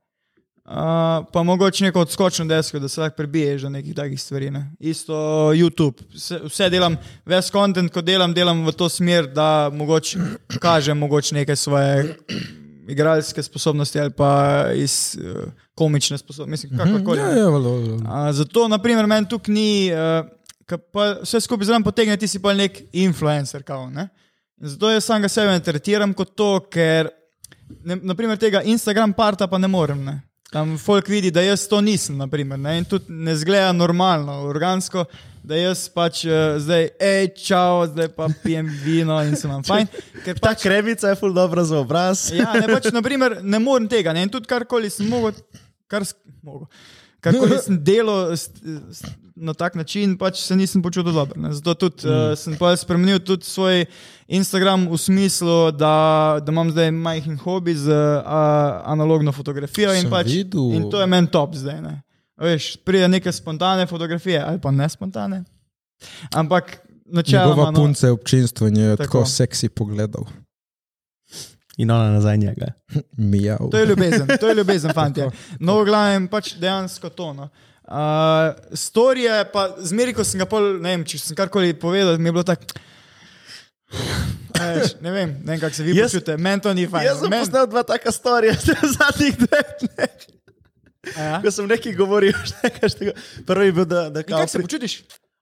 Uh, pa mogoče neko odskočno desko, da se lahko prebiješ do nekih takih stvari. Ne? Isto YouTube. Vse, vse delam, ves kontent, ko delam, delam v to smer, da mogoče kažem mogoče neke svoje igralske sposobnosti ali pa iz uh, komične sposobnosti. Mislim, kakorkoli.
Ja,
ne.
ja, valo, valo.
A, zato, na primer, meni tukaj ni, uh, pa, vse skupaj zraven potegne, ti si pa nek influencer. Kao, ne? In Zato jaz sam ga sebe interpretiram kot to, ker ne, naprimer, tega Instagram parta pa ne morem. Ne? Tam folk vidi, da jaz to nisem, naprimer, ne? in tudi ne zgleda normalno, organsko, da jaz pač uh, zdaj, hej, čau, zdaj pa pijem vino in se imam fajn. Ker
Ta
pač,
krevica je ful dobro za obraz.
ja, ne, pač, naprimer, ne morem tega. Ne? In tudi karkoli sem mogel, kar s- mogel. Karkoli sem delal s- s- na tak način, pač se nisem počutil dobro. Ne? Zato tudi, mm. uh, sem pa spremenil tudi svoj Instagram v smislu, da, da imam zdaj majhen hobi z uh, analogno fotografijo. In,
Sem
pač,
videl.
in to je meni top zdaj. Ne? A Veš, pride neke spontane fotografije ali pa ne spontane. Ampak načeloma.
Njegova
no,
punca je občinstvo in jo je tako,
Tako.
tako seksi pogledal.
In ona nazaj njega.
Mijav.
To je ljubezen, to je ljubezen, fanti. No, v glavnem, pač dejansko to. No. Uh, storije, pa zmeri, ko sem ga pol, ne vem, če sem karkoli povedal, mi je bilo tako. Eš, ne vem, ne vem kako se vi
Jaz-
počutite, meni to ni fajn.
Jaz sem
Men-
poznal dva taka storija zadnjih dneh.
A ja?
Ko sem nekaj govoril, še nekaj še tega. Prvi je bil, da, da
In
kao,
kako se počutiš?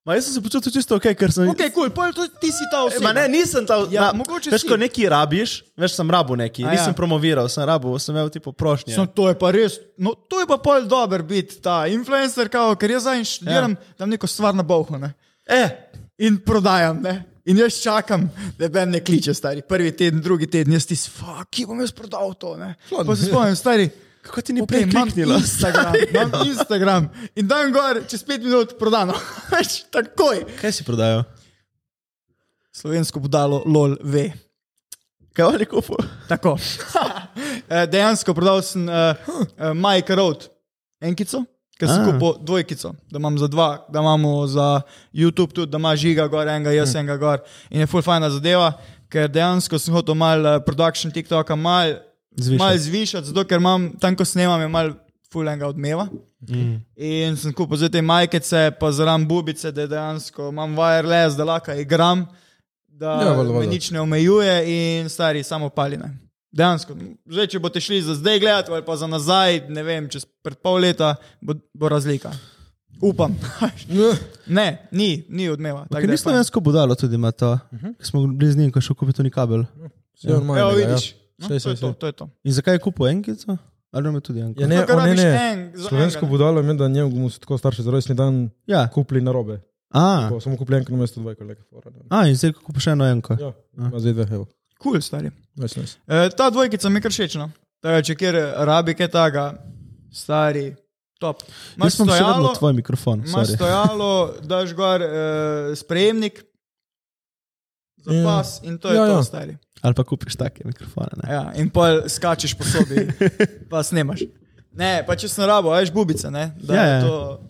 Ma jaz sem se počutil čisto ok, ker sem...
Ok, kul, cool, pol ti si ta
E,
oseba.
Ma ne, nisem ta...
Ja,
na-
mogoče
Veš,
si.
ko nekaj rabiš, veš, sem rabo neki.
A ja.
Nisem promoviral, sem rabo, sem imel tipo prošnje.
Sem, to je pa res, no, to je pa pol dober biti, ta influencer, kao, ker jaz zdaj študiram, ja. tam neko stvar na bohu. Ne.
Eh,
in prodajam. Ne? In jaz čakam, da me ne kliče, stari. Prvi teden, drugi teden, jaz ti sva, ki bom jaz prodal to. ne?" Pa se spomnim, stari.
kako ti ni
Okay,
prej
imam
kliknilo?
Instagram, imam Instagram in dan gor, čez pet minut prodano. Veš, takoj.
Kaj si prodajal?
Slovensko budalo, lol, ve.
Kaj oni kupu?
Tako. Eh, Dejansko prodal sem uh, uh, Mike Road enkico, ki sem
Ah.
kupil dvojkico, da imam za dva, da imamo za YouTube tudi, da ima žiga gor, enega jaz,
Ja.
enega gor. In je full fajna zadeva, ker dejansko sem hotel malo eh, production TikToka mal
Zvišati.
mal zvišati, zato ker imam tam, ko snemam, je mal full enega odmeva. Mm. In sem kupil zdaj te majice, pa zraven bubice, da dejansko imam wireless, da lahko igram da
Ja, valjda,
me
valjda.
nič ne omejuje in stari samo paline. Dejansko, zdaj, če boste šli za zdaj gledati ali pa za nazaj, ne vem, čez pred pol leta bo, bo razlika. Upam.
Ja,
ne, ni, ni odmeva. tako da
Ker
je Mhm.
ni
fajn.
slovensko budalo tudi ima to. Ko Smo bili z njim, ko še kupil to ni kabel.
Ja,
Evo, vidiš.
Ja.
No,
Sej,
to, je
sej,
to,
sej.
to je to.
In zakaj je kupil enkico? Ali ima tudi enko?
Ja, ne,
Zato, ker
o, ne,
rabiš
ne.
en za
Slovensko
enega, ne.
budalo je med, da njemu so tako starši za rojstni dan
Ja.
kupili na robe.
Ja.
A,
Samo kupili enko na mesto dvojko, le kako.
a, in zdaj ko kupiš eno enko.
Ja, ima zdaj dve, evo.
Kul, cool, stari.
Nice, nice.
E, ta dvojkica mi je kar všeč. no. Tako da, Če kjer rabi kaj taga, stari, top.
Jaz sem še vedno
stojalo,
tvoj mikrofon.
Imaš
sorry.
stojalo, daš gor eh, sprejemnik za
Ja.
pas in to je
Ja,
to,
ja.
stari.
Ali pa kupiš take mikrofone. Ne?
Ja, in pa skačeš po sobi, pa snemaš. Ne, pa če sem rabo, veš, bubice, ne, da,
Ja,
ja,
ja.
ja. To,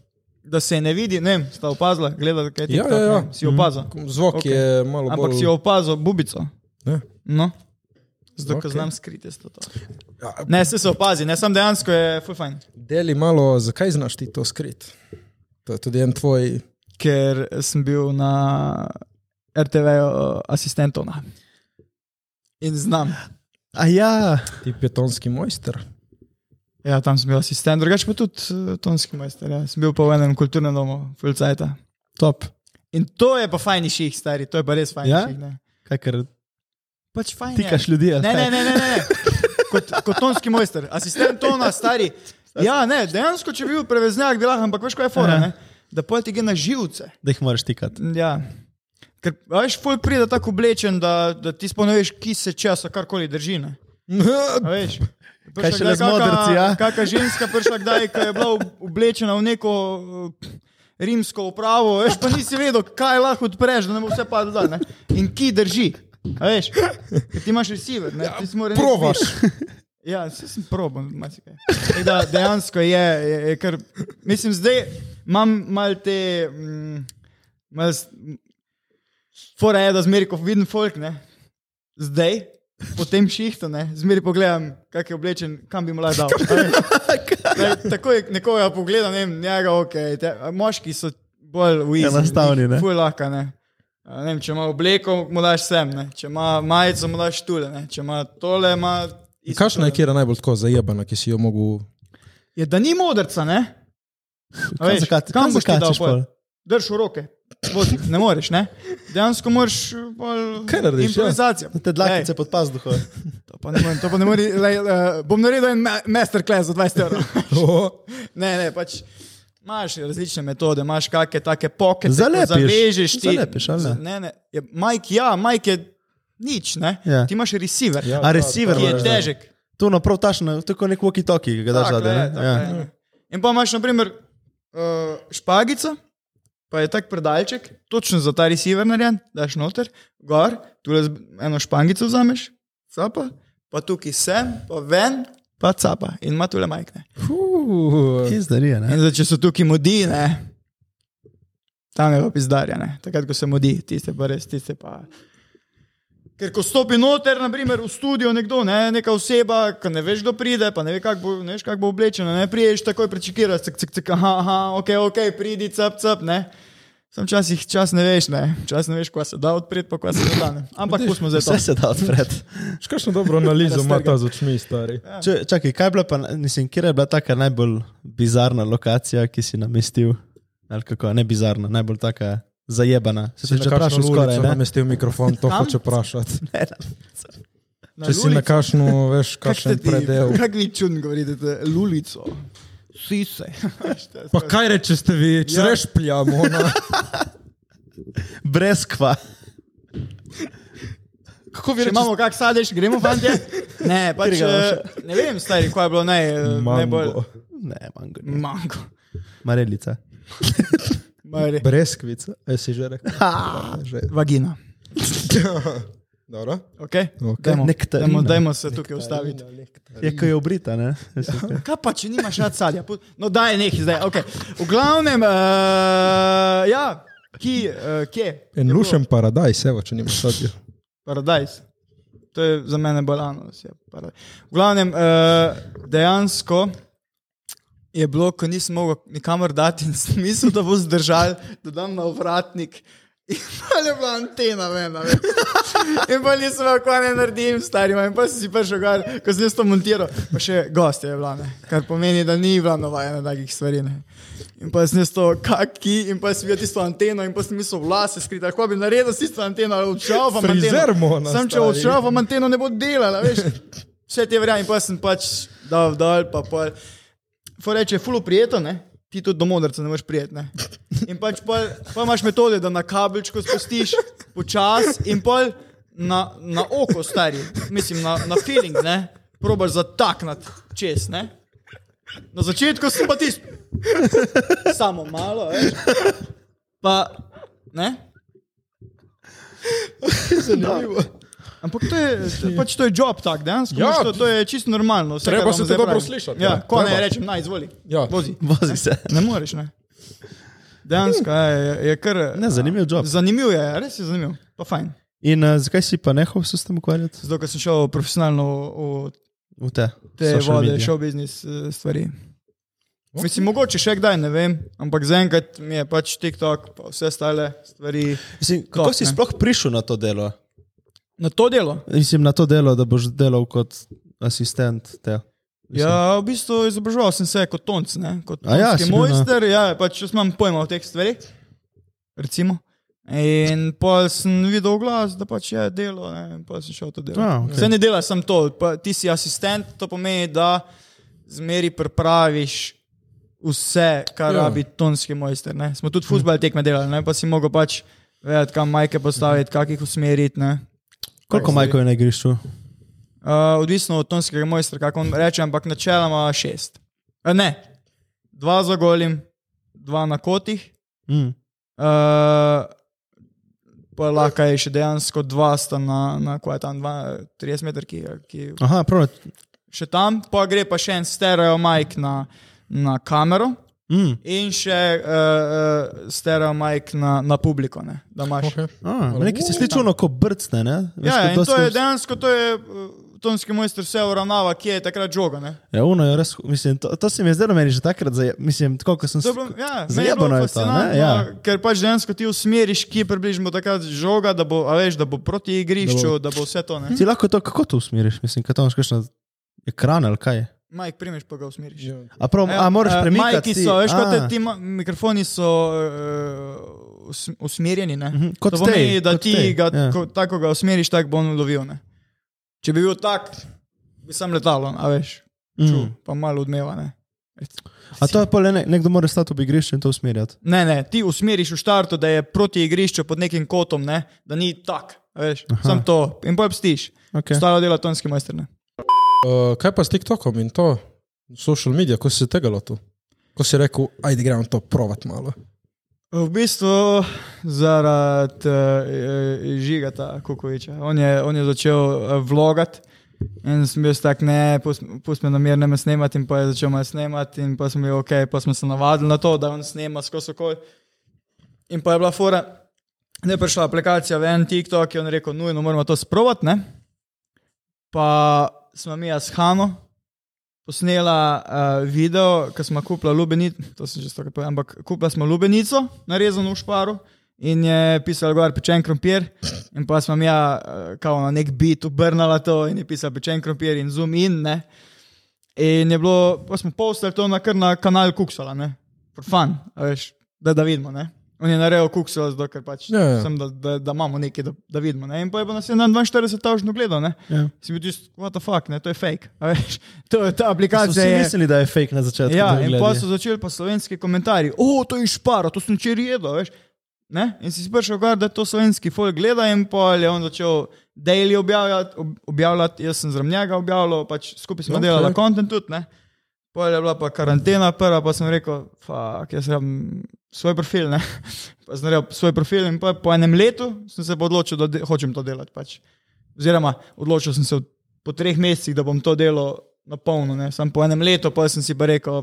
da se ne vidi, ne vem, sta opazila, gledala, kaj ti
Ja, ja, ja.
si opazil.
Zvok
Okej.
okay. je malo bolj...
Ampak si opazil bubico.
Ja.
No. Zato, okay. ker
Okej.
znam skriti to. to. Ne, se se opazi, ne, sam dejansko je full fajn.
Ja, Deli malo, zakaj znaš ti to skriti? To je tudi en tvoj...
Ker sem bil na RTV-ju asistentov. na. In znam.
A ja,
Ti petonski mojster.
Ja, tam sem bil asistent, drugače pa tudi eh, tonski majster. Ja. Sem bil pa v enem kulturnem domu, Fulcajta.
top.
In to je pa fajn ših, stari, to je pa res fajn
Ja?
ših. Ne?
Kaj ker
Pač fajn. je.
tikaš ljudi. ja, ali
Ne, ne,
kaj?
ne, ne. ne. Kot, kot tonski mojster, asistent tona, stari. Ja, ne, dejansko, če bi bil preveznjak, bi lahko, ampak veš, kaj je fora,
Aha.
ne? da pojdi gre na živce.
Da jih moraš tikati.
Ja. Ker, a veš, ful pride tako oblečen, da, da ti sploh ne veš, ki se česa karkoli drži. Ne? A Veš, prišla
šele
kdaj
z modrci, ja?
Kaka ženska prišla kdaj, ko je bila ob- oblečena v neko eh, rimsko upravo, veš, pa nisi vedel, kaj lahko odpreš, da ne bo vse padlo dol. ne. In ki drži, a veš, ker ti imaš receiver, ne, ti si moraš.
Provaš.
Ja, vse sem probil, marsikaj. Tako Da, dejansko je, je, je kar, mislim, zdaj imam mal te, mm, mal, s- m, fora je, da zmeri, ko vidim folk, ne, zdaj, po tem šihtu, ne, zmeri pogledam, kak je oblečen, kam bi mu lahko dal. Ne, Tako je, nekoga pogledam, ne vem, njega, ok, te, a moški so bolj v izrazu.
Enostavni, ne.
Fuj lahko, ne. A, Ne vem, če ima obleko, mu daš sem, ne. če ima majico, mu daš tule, ne. če ima tole, ima. isto
Kakšna je
tole.
kjera najbolj tako zajebana, ki si jo mogel...
Je, da ni modrca, ne? A veš,
zakati- kam
boš ti dal
zakačeš
pol?
pol?
Drž v roke. Vozi, ne moreš, ne? Dejansko moraš. Bolj...
Kaj narediš, ja?
Improvizacija.
Te dlaknice
Ej,
pod
Ja,
pazduho.
To pa ne morem, to pa ne morem. Lej, uh, bom naredil en ma- masterclass za 20 evrov. ne, ne, pač. Imaš različne metode, imaš kakšne take pokete,
Zalepiš.
zavežeš ti.
Zalepiš, ali ne?
ne, ne. Je, Mike, ja, Mike je nič, ne?
Ja.
Ti imaš receiver,
Ja,
A receiver
ki je
moraš dati.
težek.
To naprav tašno, tako nek walkie-talkie, ki ga daš
Tako
zadaj.
je,
ne?
tako
Ja.
je. In pa imaš, na primer, uh, špagico, pa je tak predalček, točno za ta receiver narejen, daš noter, gor, tu le eno špangico vzameš, capa, pa tukaj sem, pa ven, pa capa in ima tule majhne.
Kje zdarije, ne?
In zdaj, če so tukaj modi, ne, tam je pa pizdarjene, takrat, ko se modi, tiste pa res, tiste pa. Ker ko stopi noter, naprimer v studio nekdo, ne, neka oseba, ki ne veš, kdo pride, pa ne, ve, kak bo, ne veš, kako bo oblečena, ne priješ takoj prečekiraš, cik, cik, cik, aha, aha, ok, ok, pridi, cap, cap, ne. Sam včasih čas ne veš, ne, čas ne veš, kva se da odpreti, pa kva se ne da. Ne. Ampak pustimo zdaj to.
Vse se da odpred.
Kakšno dobro analizo ima ta z očmi, stari?
Če, čakaj, kaj je bila pa, mislim, kje je bila taka najbolj bizarna lokacija, ki si namestil? Ali kako, ne bizarna, najbolj taka zajebana. Se
Če
si že
na kakšno
vprašal skoraj,
ulico
ne?
namestil mikrofon, to
Kam?
hoče vprašati.
Na
Če si na
lulico.
kakšno, veš,
Kako ste
kakšen
ti-
predel.
Kako vi čudno govorite, to je lulico.
Sise.
Pa kaj reče ste vi, če
Ja.
reš pljamo?
Brez kva.
Kako vi imamo, kak sadež, gremo fantje? Ne, pač,
Katerega boš?
eh, ne vem, stari, kaj je bilo naj, eh, najbolj.
Mango.
Ne, mango. ne.
Mango.
Marelica.
Mari.
Breskvica, e, si že rekel. Ja,
Vagina.
Dobro.
Okay?
Ok.
Dajmo,
Nektarina. ja.
dajmo, dajmo se tukaj ustaviti. Hm?
Je, ko je obrita, ne?
Kaj pa, če nimaš rad sadja? Pu- No, daj nekaj zdaj. Okay. V glavnem, uh, ja, ki, uh, kje?
En lušen paradajz, evo, če nimaš sadja.
Paradajz. To je za mene balano. V glavnem, uh, dejansko je bilo, ko nisem mogel nikamor dati in sem mislil, da bo zdržal, da dam na vratnik. In pa je bila antena, vena, veš. In pa nisem vedel, kaj naj naredim, starima. In pa sem si prišel gor, ko sem jaz to montiral. Pa še gost je bila, ne. kar pomeni, da ni bila navajena takih stvari. Ne. In pa sem jaz to kaki, in pa sem videl tisto anteno, in pa sem mislil, vlase skriti, lahko bi naredil s tisto anteno, ali odšel v
Frizer mona,
Sam če
stari.
odšel v anteno, ne bo delala, veš. Vse te verjamem, in pa sem pač dal dol, pa pol. Foreče, fulo prijeto, ne? ti tudi do modrca ne moreš prijeti. ne. In pač pol, pa imaš metode, da na kabelčku spustiš počasi in pol na, na oko stari, mislim na, na feeling, ne? probaš zataknati čez. Ne? Na začetku sem pa tisti, samo malo, veš. pa ne. Zanimivo. Ampak to je, pač to je job tak, dejansko.
Ja.
Ja, to, to je čisto normalno. Vse,
Treba
kar vam
se
zdaj
to dobro
pravim.
slišati,
Ja,
ja.
ko ne
Treba.
rečem, naj izvoli.
Ja.
Vozi.
Vozi se.
Ne moreš, ne. Dejansko je, je, je kar.
Ne, zanimiv job.
Zanimiv je, res je zanimiv, pa fajn.
In uh, zakaj si pa nehal se s tem ukvarjati?
Zato, ker sem šel profesionalno v
V te,
v te
social
vode,
medije.
šel biznis eh, stvari. Mislim, mogoče še kdaj, ne vem, ampak zaenkrat mi je pač TikTok, pa vse stale stvari
Mislim, kako
Top,
si
ne.
sploh prišel na to delo?
na to delo.
Mislim, na to delo, da boš delal kot asistent. Te. Mislim,
Ja, v bistvu izobraževal sem se kot tonc, ne? kot
A ja,
tonski
si bil na-
mojster, ja, pač jaz imam pojma o teh stvareh. Recimo. In pa sem videl glas, da pač je delo, ne? in pa sem šel to delo.
A, okej.
Vse ne delaš samo to, pa, ti si asistent, to pomeni, da zmeri pripraviš vse, kar
Ja.
rabi tonski mojster. Ne? Smo tudi futbal tekme delali, ne? pa si mogel pač vedeti, kam majke postaviti, kak jih usmeriti. ne.
Koliko majko je na igrišču?
Uh, odvisno od tonskega mojstra, kako on reče, ampak načeloma šest. Uh, ne, dva za golim, dva na kotih,
Mm.
uh, pa lahko je še dejansko dva sta na, na kaj je tam, dva, 30 metrov, ki, ki
Aha, prav.
še tam, pa gre pa še en stereo mic na, na kamero.
Mm.
In še uh, stereo mic na, na publiko, ne, da imaš.
Okay.
Ah, nekaj si slišal, ono, ko brcne, ne? Veš, ko
Ja, in to
dosti-
je dejansko, to je eh, tonski mojster vse uravnava, kje je takrat žoga. Ne?
Ja, uno je res, mislim, to, to se mi je zdelo meni že takrat, zaje, mislim, tako kot sem
To je bilo- Ja, meni je bilo
Zajebano je to, ne?
fascinantno,
Ja.
Ker pač dejansko ti usmeriš, ki približno takrat žoga, da bo, a veš, da bo proti igrišču, da bo, da bo vse to. Ne?
Ti lahko to, kako to usmeriš, mislim, kaj to imaš kakšen ekran ali kaj?
Majk primeš, pa ga usmeriš.
Ja.
A prav,
Evo,
a moraš
eh,
premikati?
Majki
ti?
so, veš, kot
A,
te ti ma- mikrofoni so uh, us, usmerjeni. Ne?
mhm, Kot
to
te,
pomeni, da
kot
ti
tej,
ga,
ja.
ko, tako ga usmeriš, tako bo on lovil. Ne? Če bi bil tak, bi sam letalo, a veš, ču,
Mm.
mm. pa malo odmeva. Ne?
A to je pa le, nekdo mora stati ob igrišču in to usmerjati.
Ne, ne, ti usmeriš v štartu, da je proti igrišču pod nekim kotom, ne? da ni tak. a Veš, sam to in poj pstiš.
Okay.
Okay. Stalo dela tonski majster. Ne?
Uh, kaj pa s TikTokom in to, social medije, ko si se tega lotil? Ko si rekel, ajde gremo to provat malo.
V bistvu zaradi uh, žigata Kukoviča. On je, on je začel uh, vlogati in sem bil tak, ne, pusti pust me namerno me snemati in pa je začel me snemati in pa sem bil ok, pa smo se navadili na to, da on snema skozi okol. In pa je bila fora, da je prišla aplikacija v en TikTok in on je rekel, nujno moramo to sprovat, ne? Pa smo mi jaz s Hano posnela uh, video, ko smo kupili lubenico, to sem že stokrat povedal, ampak kupili smo lubenico, narezano v šparu in je pisal gor pečen krompir in pa smo mi ja, uh, kao na nek bit obrnala to in je pisal pečen krompir in zoom in ne. In je bilo, pa smo postali to na kar na kanal Kuksala, ne, for fun, a veš, da, da vidimo, ne. On je naredil kuksala, zato ker pač
Ja, ja.
sem, da, da, da imamo nekaj, da, da vidimo, ne. In pa je pa nas je na 42 tažno gledal, ne si bil tisti, what the fuck, ne, to je fake. a Veš, to je ta
Kaj
aplikacija.
si
Je,
mislili, da je fake na začetku?
ja,
da
in
gledi?
pa so začeli pa slovenski komentarji, o, to je šparo, to sem včeraj jedel, veš. Ne? In si sprašal, gar, da to slovenski folk gleda in pa je on začel daily objavljati, ob, objavljati jaz sem zraven njega objavljal, pač skupaj smo
Ok.
okay. delali kontent tudi, ne. Pol je bila pa karantena prva, pa sem rekel, fuck, jaz sem svoj profil, ne. Pa sem naredil svoj profil in pa po enem letu sem se pa odločil, da de, hočem to delati pač oziroma odločil sem se v- po treh mesecih, da bom to delo na polno, ne. samo po enem letu, pa sem si pa rekel,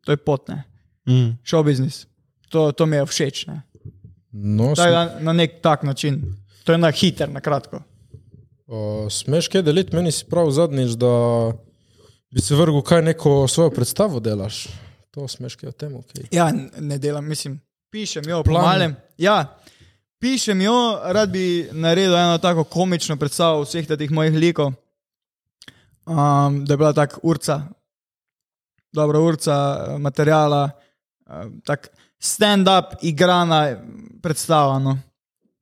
to je potne,
Mm.
šel biznis. To, to mi je všeč. Ne.
No,
Tako
sme,
Da, na nek tak način. To je na hiter, na kratko.
uh, smeš kaj deliti, meni si prav zadnjič, da bi se vrgel kaj neko svojo predstavo delaš. To smeš kaj o tem, Eh, ok.
Ja, n- ne delam, mislim, pišem jo,
Plan.
pomalem. Ja, pišem jo, rad bi naredil eno tako komično predstavo vseh teh mojih likov. Um, da je bila tako urca, dobra urca eh, materijala, um, tak stand-up igrana predstava. No.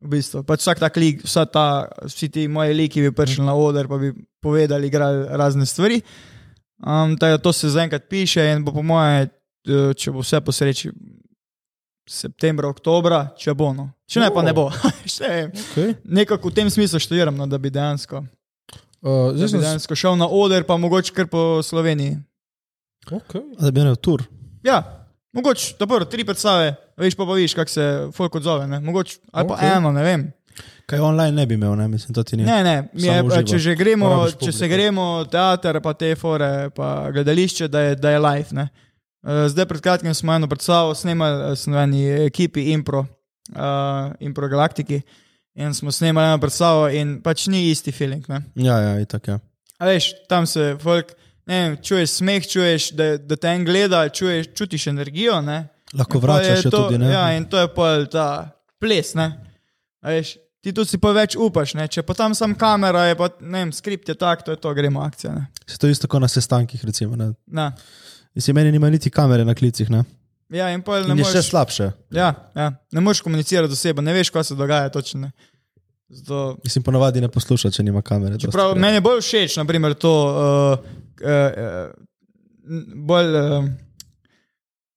V bistvu. pač vsak tak lik, vsa ta, vsi ti moji liki bi prišli na oder, pa bi povedali, igrali razne stvari. Um, tako da to se zaenkrat piše in bo po moje, eh, če bo vse po sreči, septembra, oktobra, če bo. No. Če ne, pa ne bo. Še ne vem.
okay.
Nekako v tem smislu študiram, no, da bi dejansko,
Uh,
da
zdaj
bi
sem danes.
dejansko šel na oder, pa mogoče kar po Sloveniji.
Okay.
Da bi imel tur.
Ja, mogoče ta prvo, tri predstave, veš pa, pa viš, kako se folk odzove. Ne? Mogoče, ali pa
Okej.
okay. eno, ne vem.
Kaj online ne bi imel, ne, mislim, to ti ni.
Ne, ne, mi je,
Samo
pa,
uživo.
če, že gremo,
Porabiš
če se
publiko.
gremo teater, pa te fore, pa gledališče, da je, da je live. Ne? Eh, Zdaj pred kratkim smo eno predstavo snemali, eh, sem v eni ekipi Impro, uh, Impro Galaktiki. In smo snemali eno predstavo, in pač ni isti feeling. Ne?
Ja, ja, itak, ja.
A veš, tam se folk, ne vem, čuješ smeh, čuješ, da, da te en gleda, čuješ, čutiš energijo. Ne?
Lahko
In pol je
vračaš jo
to,
tudi, ne?
Ja, in to je pol ta ples. Ne? A Veš, ti tu si pa več upaš, ne? če pa tam sam kamera, je pa ne vem, skript je tak, to je to, gremo akcija. Ne?
Se to isto kot na sestankih, recimo, ne.
Na.
Mislim, meni nima niti kamere na klicih, ne.
Ja, in pol ne
In je še
moreš.
slabše.
Ja, ja, ne moreš komunicirati z osebo, ne veš, kaj se dogaja točno. ne. Zato,
Mislim, ponavadi ne posluša, če nima kamere.
Čeprav
dosti.
meni je bolj všeč, eh, naprimer, to uh, uh, uh, bolj. Uh, eh,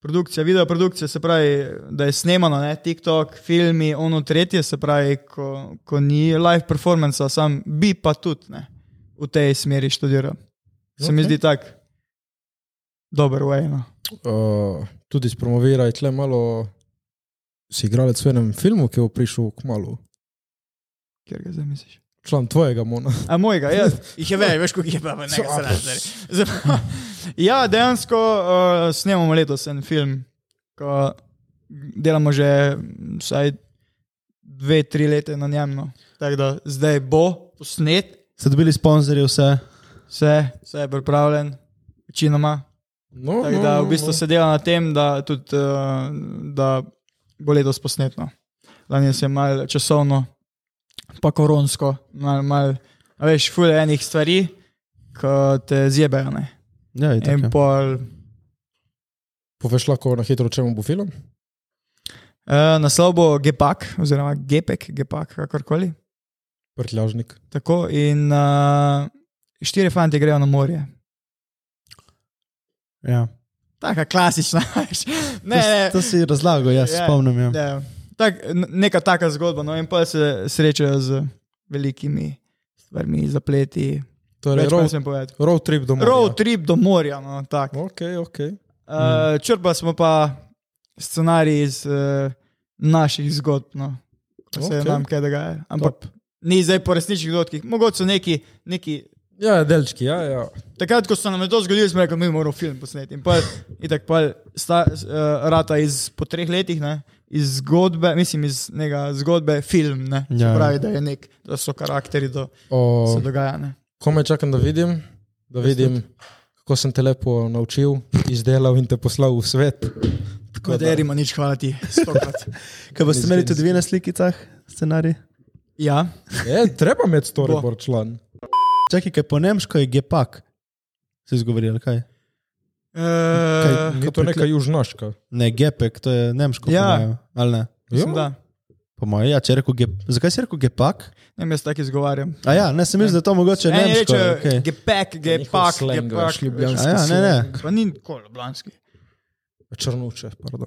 Produkcija, video produkcija, se pravi, da je snemano, ne, TikTok, filmi, ono tretje, se pravi, ko, ko ni live performance, sam bi pa tudi ne, v tej smeri študiral. Se okay. mi
Okej.
zdi tako dober way. No.
Uh, tudi spromoviraj tle malo. Si igralec v enem filmu, ki je prišel k malu,
Kjer ga zdaj misliš?
član tvojega mona.
A mojega, ja. Jih je več, veš, koliko je pa ne zdaj. Ja, dejansko uh, snemamo letos en film, ko delamo že vsaj dve, tri leta na njem. No. Tako da zdaj bo posnet,
Ste dobili sponzorje, vse?
vse, vse je pripravljen, večinoma.
No,
Tako da v bistvu se dela na tem, da, tudi, uh, da bo letos posnetno. Lani se je malo časovno, pa koronsko, malo, mal, a veš, fulje enih stvari, ki te zjebejo. Ne?
Ja, itak,
In
ja.
pol,
Poveš lahko na hitro, o čem bo film?
uh, naslov bo GEPAK, oziroma GEPEK, GEPAK, kakorkoli.
Prtljažnik.
Tako in uh, štiri fanti grejo na morje.
Ja.
Taka klasična, veš. Ne,
to,
ne,
to si razlagal, jaz
Ja,
yeah, spomnim. Ja. Yeah.
Ja. Tak, n- neka taka zgodba, no in pa se srečajo z velikimi stvarmi, zapleti.
Torej,
Več pa ne
road,
smem povedati.
road trip domov.
Road trip do morja, no tako.
Ok, ok.
Uh, črpa smo pa scenarij iz uh, naših zgodb, no. ko se
Okej.
okay. nam kaj dogaja. Ampak Top. ni zdaj po resničnih dogodkih, mogoče so neki, neki
Ja, delčki, ja, ja.
Takrat, ko se nam je to zgodilo, smo rekli, mi moramo film posneti. In pa je eh, rata iz po treh letih, ne, iz zgodbe, mislim, iz nega zgodbe film. Ne, Se
Ja. Oh.
pravi, da, je nek, da so karakteri, da
O,
se dogaja. Ne.
kome čakam, da vidim, da vidim, kako sem te lepo naučil, izdelal in te poslal v svet. Tako da-
Katerima nič hvala ti, stokrat.
Kaj boste imeli tudi vi na slikicah, scenarij?
Ja,
Je, E, treba imeti storyboard član.
Čakaj, kaj po nemško je gepak. Se izgovorili, kaj?
e,
Ni to neka južnaška.
Ne, gepek, to je nemško.
Ja.
Ja. Mojem, ali ne?
mislim,
Jo?
da.
Po mojem, ja, če je rekel gep. Zakaj si rekel gepak?
Ne, vem, jaz tako izgovarjam.
A ja, ne, sem mislil, da je to mogoče
Eni
nemško.
rečejo,
Okay.
gepek, gepak,
slang,
gepak.
veš, ljubljanski.
A ja, ne, ne.
Pa ni nikoli blanski.
Črnuče, pardon.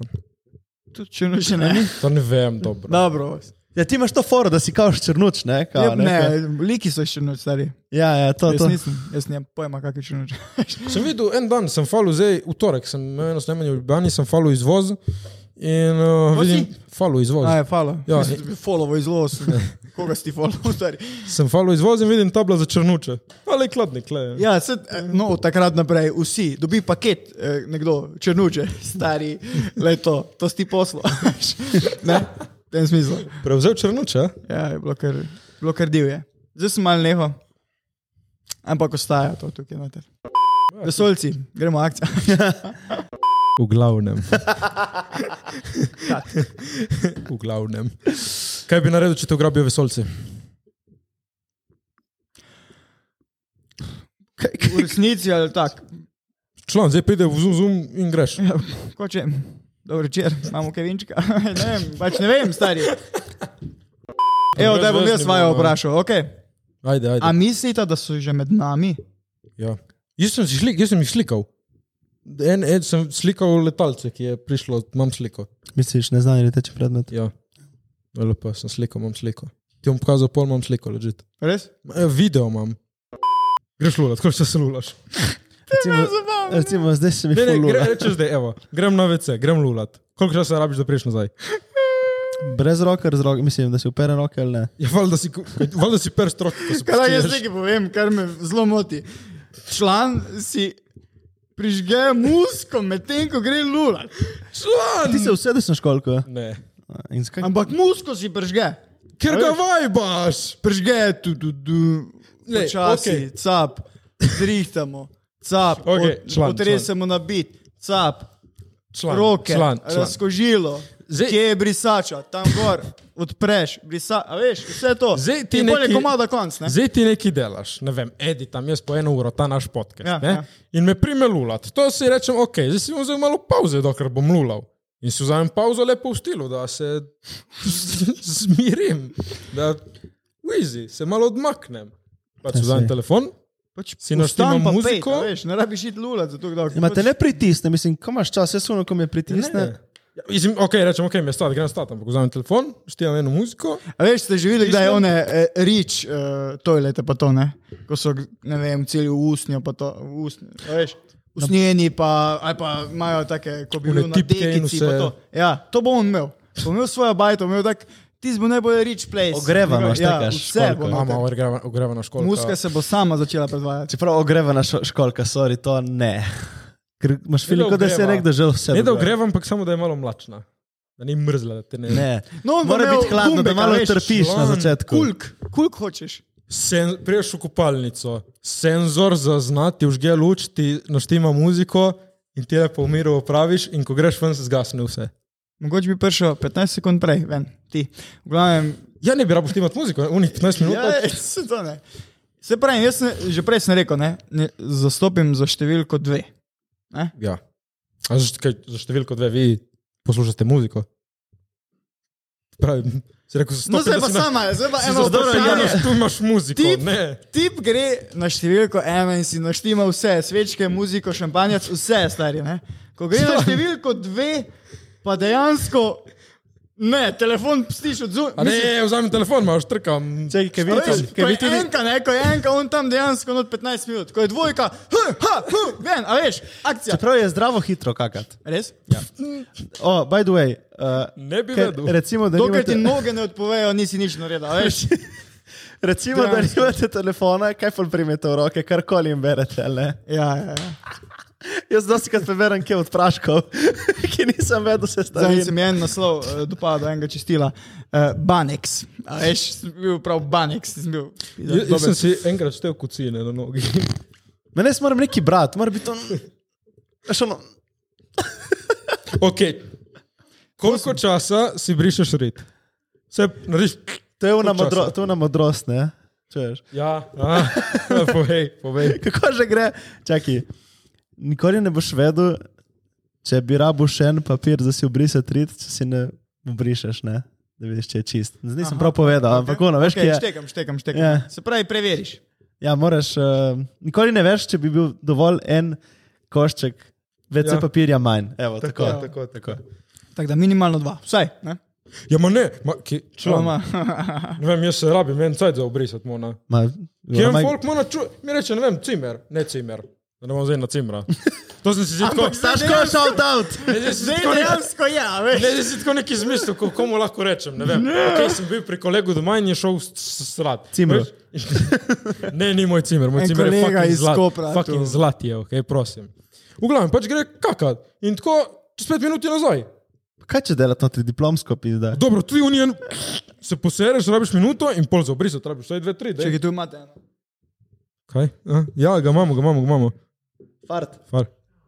Tudi če noče ne.
To ne vem dobro.
Dobro.
Ja, ti imaš to foro, da si kao črnuč, ne? Kao,
Ja, ne,
nekaj.
liki so še noč stari.
Ja, ja, to,
Jaz
to.
nisem, jaz nimam pojma, kakšen čunoč.
Sem videl en dan, sem falil zdaj, v torek, sem imel eno snemanje v Ljubljani, sem falil izvoz in uh,
Vozi?
vidim, falil izvoz.
Aj, falo.
Ja,
Ja, Folovo izlo, koga si folovo stari.
Sem falil izvoz in vidim tabla za črnuče. Ali kladnik, le.
Ja, sed, no, od takrat naprej vsi, dobi paket, eh, nekdo, črnuče, stari, leto, to sti poslo. ne, v tem smislu.
Prevzel črnuče?
Ja, je bilo kar, bilo kar div je. Zdaj sem mal neho, ampak ostaja to tukaj noter. Vesolci, gremo akcija.
V glavnem. v glavnem. Kaj bi naredil, če te ugrabijo vesolci?
V resnici ali tak,
Član, zdaj pride v zum, zum in greš.
Ja, ko če, dobro večer, imamo kevinčka. ne vem, pač ne vem, stari. Evo, da bom jaz vaju vprašal, okay.
Ajde,
a
ajde.
mislite, da so že med nami?
Ja. Jaz, sem si šlik, jaz sem jih slikal. En, en sem slikal letalce, ki je prišlo, imam sliko.
Misliš, neznani leteči predmet?
Ja. Lepo, sem slikal, imam sliko. Ti bom pokazal, pol imam sliko, ležite.
Res?
Video imam. Greš lulat, kako se lulaš.
Recimo, recimo zdaj se mi
Ne, ne,
ful
gre,
lula.
rečeš, da je, evo, grem na VC, grem lulat. Koliko časa rabiš, da priješ nazaj?
Brez roka, z roka, mislim, da si upere roke ali ne.
Ja, valjda si, ko- valjda si per strok, ko se
Kaj naj jaz
počutiš.
nekaj povem, kar me zelo moti. Član si prižge musko medtem, ko gre lula.
Ti se usedeš na školko.
Ne.
In skaj?
Ampak musko si prižge.
Ker ga vajbaš!
Prižge tu, tu, tu.
Ne,
Počasi, okay.
okej.
cap, zrihtamo, cap,
Okej,
od-
član,
potresemo na bit, cap,
Član,
roke,
član, član.
razkožilo,
Zdaj-
Zdaj, kje je brisača, tam gor, odpreš, brisa, a veš, vse to.
Zdaj ti
In pol je
neki-
komada konc, ne?
Zdaj ti nekaj delaš, ne vem, editam jaz po eno uro ta naš podcast.
Ja,
Ja,
ja.
ja. In me prime lulat. To si rečem, ok, zdaj si bom vzel malo pauze, dokler bom lulal. In si vzamem pauzo lepo v stilu, da se zmirim, da uizi, se malo odmaknem. Pa si
Ja,
vzamem
saj.
telefon,
Pač
Si naštel
vstan pa
muziko?
pejta, veš, ne rabiš iti lulat za to, kdo
Imate le pritisne, mislim, ko imaš čas, jaz suno, ko me pritisne.
Ja, mislim, ok, rečem, ok, mi je stat, grem stat, ampak vzamem telefon, štijem eno muziko.
A veš, ste že videli, da je one eh, rič, eh, toilete pa to, ne? Ko so, ne vem, celi v usnjo, pa to, v usnjo, a veš, usnjeni pa, ali pa imajo take, ko bi
One
bili na
tipke in
dekici, pa
vse.
to. Ja, to bo on imel. Bo imel svojo bajto, imel tak, ti bo najbolj rič place.
Ogreva imaš
ja,
taka
vse
školjka.
bo. imel
Mama,
tak.
ogreva- ogrevana škola.
Muzika se bo sama začela predvajati.
Čeprav ogrevana šo- školka, sorry, to ne. Ker imaš filiko, da si je
ogreva.
nekdo že vse.
Ne da
dogajalo.
ogrevam, ampak samo da je malo mlačna. Da ni mrzla, da te ne.
Ne.
No, on bo
Mora
imel
biti hladno, da
gumbek, a
malo
veš,
trpiš na
član,
začetku.
Kulk, kulk hočeš.
Sen, priješ v kopalnico, senzor zaznati, vžge luč, ti naštima muziko in ti lepo v miru opraviš, in ko greš ven, se zgasne vse.
Mogoče bi prišel 15 sekund prej, ven, ti. V glavnem,
Ja, ne bi rabo štimati muziko, unih 15 minut.
Ja,
pač.
ej, se to ne. Se pravi, jaz ne, že prej sem rekel, ne, ne, zastopim za številko dve.
Ja. A za, št- kaj, za številko dve vi poslušate muziko? Pravi, si rekel,
No,
stopim,
zdaj
da
pa
si na-
sama, zdaj pa
si
eno
zastopil, ja,
vprašanje.
naš- Tu imaš muziko,
Tip.
ne.
Tip gre na številko ena in si naštima vse, svečke, muziko, šampanjac, vse stari. Ne? Ko gre na številko dve, pa dejansko ne, telefon stiš od
A
zunaj.
ne, vzamem telefon, imaš trkam.
Čakaj, kaj
Veš,
vidiš?
ko
Kaj
je
vidiš?
enka, ne, ko je enka, on tam dejansko not 15 minut, ko je dvojka, ha, ha, ha, ven, a veš, akcija.
Čeprav je zdravo hitro kakat.
Res?
Ja. O, oh, by the way. Uh,
Ne bi
ker
vedel. no-
Recimo, da
Dokler
nimate,
ti noge ne odpovejo, nisi nič naredil, a veš.
recimo,
Ja.
da
Dejansko.
nimate telefona, kaj pa primete v roke, karkoli jim berete. ali Ne?
Ja, ja, ja.
Jaz dosti krat preberem kje od praškov, ki nisem vedel, se
Zdaj
stavim.
sem en naslov eh, dopadel, enega čistila. Uh, Banex. A veš, sem bil prav Banex. Sem bil.
Ja,
Jaz, jaz sem si enkrat štel kucine na nogi.
Mene jaz moram neki brat, mora biti on. Veš, ono,
ok. Koliko časa si brišeš rit? Se narediš.
to je ona
Koliko časa?
modro- to je ona modrost, ne? Čuješ?
Ja, a, povej, povej.
Kako že gre? Čakaj, nikoli ne boš vedel, če bi rabo še en papir, da si obrisal trit, če si ne obrišeš, ne? da vidiš, če je čist. Zdaj nisem prav povedal, ampak ono, no, veš,
okay,
okay, kaj je.
Štekam, štekam, štekam.
Ja.
Yeah. Se pravi, preveriš.
Ja, moraš, uh, nikoli ne veš, če bi bil dovolj en košček, več ja.
Ja.
papirja manj. Evo, tako, tako,
tako, tako.
Tako da minimalno dva. Vsaj. Ne?
Ja, ma ne, ma, ki, član,
Ma-
ne vem, jaz se rabim en cajt za obrisati, mona.
Ma,
Kjer
ma-
folk mora čuti, mi reče, ne vem, cimer, ne cimer. Da ne bom zdaj na cimra. To sem si zdaj tako.
Ampak zdaj
Saško, shout out!
Ne, zdaj sem si
Zdaj
tako nekaj-
dejansko je, a veš.
Ne, zdaj si tako nekaj izmislil, ko- komu lahko rečem. Ne vem. Okay, sem bil pri kolegu doma in je šel s- s- srat.
Cimer.
Veš? Ne, ni moj cimer, moj
En
cimer je
kolega
fucking
iz
zlat.
Kopra tu.
Fucking zlat je, okay, prosim. V glavnem, pač gre kakat in tako čez pet minut je nazaj.
Kaj če delati na tri diplomsko pizda?
Dobro, tudi unijen se posereš, rabiš minuto in pol za obrisati, rabiš vsaj dve, tri. daj.
Čekaj, tu imate eno.
Kaj? A? Ja, ga imamo, ga imamo, ga imamo.
Fart.
Far.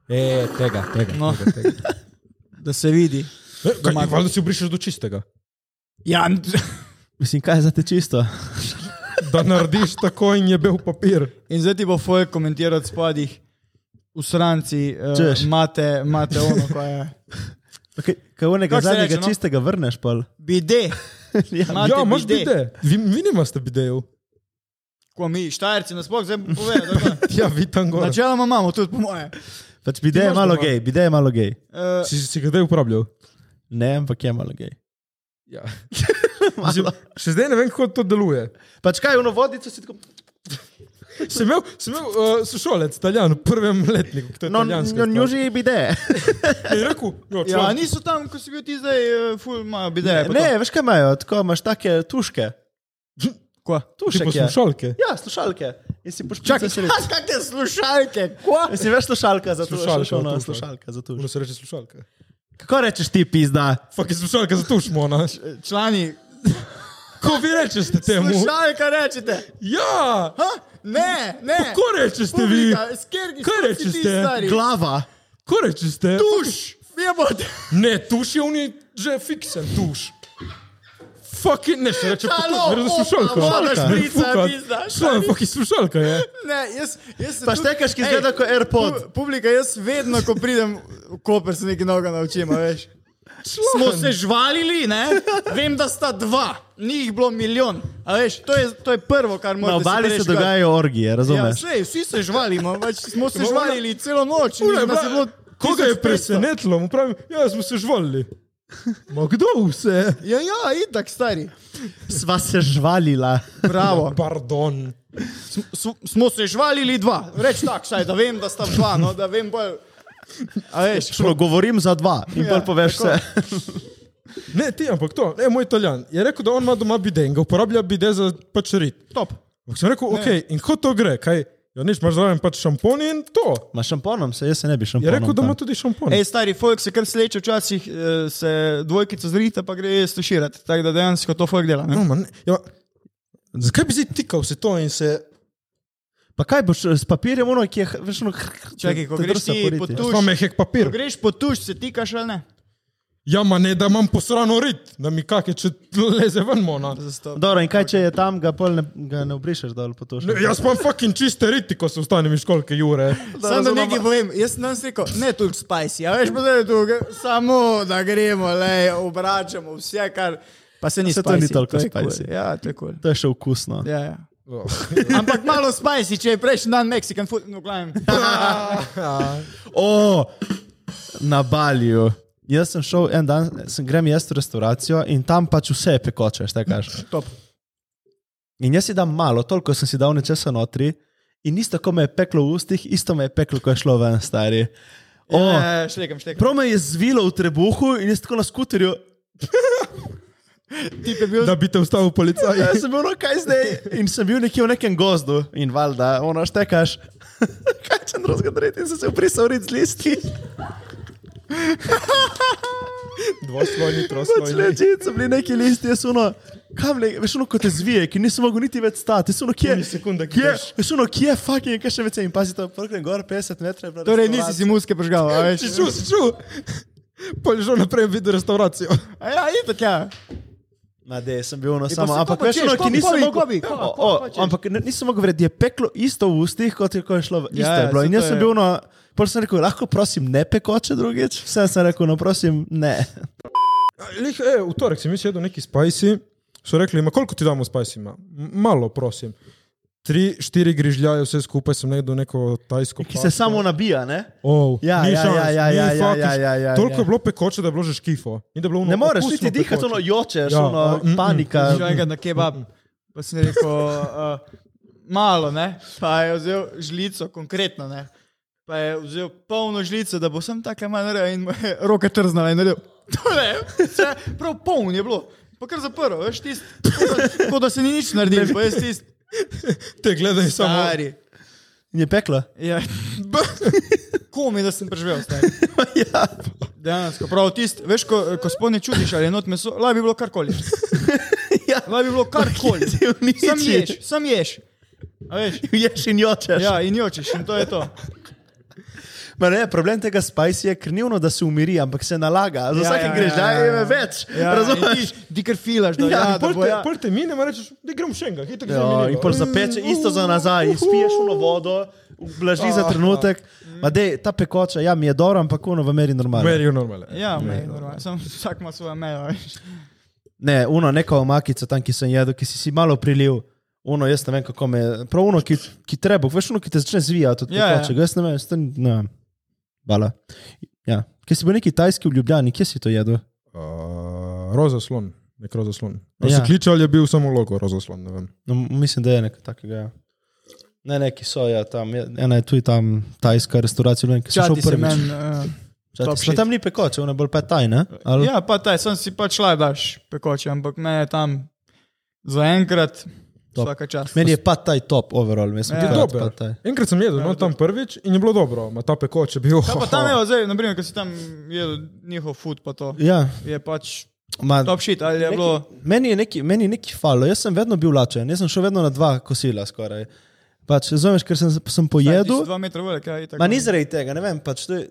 E, tega, tega.
No.
tega, tega.
Da se vidi.
E, kaj,
Doma.
valjda si obrišeš do čistega.
Ja, n-
Mislim, kaj je za te čisto?
Da narediš tako in je bil papir.
in zdaj ti bo Foy komentiral od spodih. V sranci
Češ.
eh, imate, imate ono, ko je.
Okay, kaj onega
Kako se reče,
zadnjega
no?
čistega vrneš, pol.
Bide,
ja.
Imate
ja, imaš
bide?
bide. Vi, vi nimaste bidejev.
ko mi, štajerci nasploh, zdaj povedo.
Ja, vi tam gor. Če...
Načeloma imamo tudi, po moje.
Pač bide je
imaš
malo
doma?
gej, bide je malo gej.
Eh,
Si, si ga zdaj uporabljal?
Ne, ampak je malo gej.
Ja. Mislim, še zdaj ne vem, kako to deluje.
Pač kaj, ono vodico si tako.
Sem imel, sem imel uh, sošolec, italijan, v prvem letniku, ki je
No,
italijanski.
no, njuži bide.
je rekel, jo,
Ja,
član,
niso tam, ko si bil ti zdaj, eh, ful, imajo bideje. pa
ne, veš kaj imajo, tako imaš take tuške.
Kva?
ti
Tušek je.
poslušalke.
Ja, slušalke. In si počakaj, se
to. Kakšne slušalke, kva?
Si veš slušalka za tuš?
Slušalka,
Slušalka, ono,
tuš, ja.
slušalka za tuš.
Ono se reče slušalka.
Kako rečeš ti pizda?
Fak je slušalka za tušmo, ne?
Eh, Člani,
Ko vi rečete temu?
slušalka rečete.
Ja!
Ha? Ne, ne.
Ko rečete vi?
Publika, s kjer- s
Kaj
kjer si
rečeš
ti
te?
stari?
Glava.
Ko rečete?
Tuš, jebote.
Ne, tuš je oni že fiksen, tuš. Fucking ne, še reče,
Halo,
kako je
opa,
slušalka.
voda šprica,
Fukat.
pizda, šta
Šlo je, fucking slušalka je.
Ne, jaz, jaz sem
Pa
tudi-
štekaš, ki
Ej,
izgleda kot AirPod.
pu- Publika, jaz vedno, ko pridem v Koper, se nekaj novega naučim, a veš. Smo se žvalili, ne? Vem, da sta dva, ni jih bilo milijon, A veš, to je, to je prvo, kar
Na
moramo
obali se dogajajo orgije,
Ja,
razumeš?
sej, vsi se žvalimo, pač smo se žvalili celo noč. in
Ule,
nas je
bra-
bilo
Koga je
1500.
presenetilo? Mu pravim, ja, smo se žvalili. Ma kdo vse?
Ja, ja, itak stari.
Sva se žvalila.
Bravo.
Pardon.
S- Smo se žvalili dva, reč tak, saj, da vem, da sta dva, no, da vem bolj. A veš,
Šlo, govorim za dva in
Ja,
bolj poveš
tako.
vse.
Ne, ti, ampak to, ne, moj italijan je rekel, da on ima doma biden, ga uporablja bide za pač rit.
top.
Ampak sem rekel, ok, in kako to gre? Kaj, ja, nič, imaš zraven pač šampon in to.
Ma šamponom se, jaz se ne bi šamponom.
Je rekel, da ima
tam.
tudi šampon.
Ej, stari folk se kar sleče, včasih eh, se dvojkico zrita, pa gre stuširati. Tako da dejansko to folk dela.
Mm.
Ne?
No, man, ja, zakaj bi zdaj tikal vse to in se...
Pa kaj boš s papirjem, ono, ki je, h- veš, ono,
Čakaj, ko greš ti po tu- Tuš.
Imam mehek papir.
Ko greš po tuš, se tikaš ali ne?
Ja, ma ne, da imam posrano rit, da mi kake, če leze ven, mona.
Zastop.
Dobro, in kaj če je tam, ga, pol ne, ga ne obrišeš dol po to.
Ne, jaz pa imam fucking čiste riti, ko se vstanem iz školke Jure.
Samo da nekaj povem, jaz sem danes rekel, ne tu spajsi, a veš pa da je tu, ge- samo da gremo, le obračamo vse, kar pa se ni
Saj to ni
spicy, to
toliko
je
spicy.
cool. Ja, to je kul. Cool.
To je še okusno.
Ja, ja.
No.
Ampak malo spicy, če je prejšnji dan Mexican food, no glavim.
O, na Balju. Jaz sem šel en dan, sem grem jaz v restauracijo in tam pač vse je pekoče, šta kažeš.
Top.
In jaz si dam malo, toliko sem si dal nečesa notri in isto, ko me je peklo v ustih, isto me je peklo, ko je šlo ven, stari. O,
Ja, šlekam, šlekam.
prav me je zvilo v trebuhu in jaz tako na skuterju.
Tip je bil
Da bi te ustavil policaj.
Jaz sem bil, no kaj zdaj? In sem bil nekje v nekem gozdu in valjda, ono štekaš. Kaj če drugega narediti, in sem se uprisal rit z listi.
Dvoslojni,
Pač
troslojni.
ležite, so bili neki listi, jaz uno, kam le, veš, ono kot te zvije, ki nisem mogel niti več stati, jaz uno, kje,
Ni sekunde, ki
kje,
daš.
veš, uno, kje, fucking, kaj še več in pazi to, prknem gor 50 metrov. je bila
Torej, nisi si
restauracija.
muske požgal, a veš?
Si čul, si čul. Pol je že naprej videl restauracijo.
A ja, itak ja.
Ma, de, sem bil ono
E, pa
samo,
se
ampak
kopa
veš,
češ,
ono,
kopa,
ki nisem
kopa,
mogel,
kopa, kopa,
O,
kopa
o,
češ.
ampak ne- nisem mogel verjeti, je peklo isto v ustih, kot je, ko je šlo, ven. isto
Ja,
je bilo.
saj
In
to
jaz sem
je.
bil ono, pol sem rekel, lahko prosim ne pekoče drugič, vse sem rekel, no prosim ne.
Lih, e, v torek sem jaz jedel neki spajsi, so rekli, ma koliko ti damo spajsi? Malo, prosim. Tri, štiri grižljaje, vse skupaj sem najdel neko tajsko.
Ki se
pasto.
samo nabija, ne?
Oh,
Ja,
ni
ja,
šans,
ja, ja,
ni
ja, ja,
fucking-
ja, ja, ja,
Toliko
ja.
je bilo pekoče, da je bilo že škifo. In da je bilo ono
Ne moreš
okusno
niti dihati,
pekoče.
ono jočeš,
Ja,
ono
ono, mm, mm.
panika.
Šel enkrat na kebab, pa sem rekel, uh, malo, ne? Pa je vzel žlico, konkretno, ne? Pa je vzel polno žlico, da bo sem tako malo naredil in mu je roka trznala in naredil. Tole, vse, prav poln je bilo. Pa kar zaprl, veš, tisti, kot da- kot da se ni nič naredil, pa jaz tisti,
Te gledaj samo.
stari.
In je peklo.
Ja. Komi, da sem preživel, stari.
ja.
Dejansko, prav tisti, veš, ko, ko spone čutiš ali je not meso, laj bi bilo karkoli.
Ja.
Laj bi bilo karkoli.
Ti uničiš.
Sam ješ, sam ješ. A veš?
Ješ in jočeš.
Ja, in jočeš, in to je to.
Ma Ne, problem tega spajsi je krivno, da se umiri, ampak se nalaga. Za
Ja,
vsakim
ja,
greš,
ja,
da
ja, ja.
je več.
Ja,
Razumeš?
Dikar filaš, da,
Ja,
ja, ja, da
Pol
bo
te,
ja.
pol te mine, ma rečeš, da grem še enega. itak zdaj
Ja,
minilo.
in pol zapeče isto za nazaj, in spiješ uno vodo, blaži
Ah,
za trenutek. Ma dej, ta pekoča, ja, mi je dobro, ampak uno v meri normalno.
Merijo normalno.
Ja, mej, normalno, samo vsak ima svojo mejo. a veš.
Ne, uno, neka omakica tam, ki sem jedel, ki si si malo prilil. Uno, jaz ne vem, kako me, prav uno, ki, ki treba, veš, uno, ki te začne zvijati od
Ja, ja.
pekoče. Jaz ne vem, stan, ne, bala. Ja, kje si bil neki tajski v Ljubljani, kje si to jedel?
Uh, roza slon, nek roza slon. Ja.
Ja.
Se kliče ali je bil samo logo roza slon, ne vem.
No, mislim, da je nekaj takega. Ja. Ne, neki so, ja, tam, je- ena je tudi tam tajska restauracija, ne, ki so
Čati
šel
se
prvi.
meni. Uh, top shit.
No, Tam ni pekoče, ona je bolj pa tajna. Ali...
ja, pa taj, sem si pač laj daš pekoče, ampak me je tam zaenkrat
Top.
vsaka čast.
Meni je pa taj top overall, mislim,
Ja.
da
Je
je
Dober.
pa taj.
Enkrat sem
Ja,
jedel, no tam prvič in je bilo dobro, ma ta pekoč je bil.
Ja, pa tam je, zdaj, naprimer, ko si tam jedel njihov food, pa to
Ja,
je pač
ma,
top shit, ali je bilo.
Neki, meni je neki, meni je neki falo, jaz sem vedno bil lačen, jaz sem šel vedno na dva kosila skoraj. Pač, razumeš, ker sem, sem
Ti si
pojedel.
Dva metra velik, ja, itak.
Ma ni zaradi tega, ne vem, pač to je.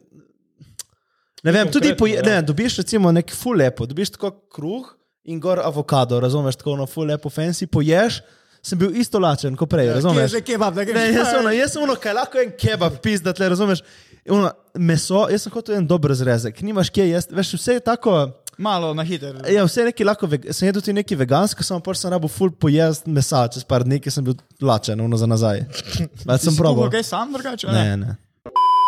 Ne vem, tudi
konkretno,
poje,
ja.
ne, vem, dobiš recimo nek ful lepo, dobiš tako kruh in gor avokado, razumeš, tako ono ful lepo fancy, poješ, sem bil isto lačen kot prej,
Ja, Kje je
razumeš.
zdaj kebab, da greš?
Ne, jaz sem ono, jaz sem ono, kaj lahko en kebab pizda, tle, razumeš. Ono, meso, jaz sem hotel en dober zrezek, nimaš kje jesti, veš, vse je tako.
Malo na hiter.
Ja, vse neki lahko, veg- sem jedel tudi neki veganski, samo prvo sem rabo full pojest mesa, čez par dni ker sem bil lačen, ono za nazaj. Več sem probal.
Kaj sam drugače? ali
Ne, ne.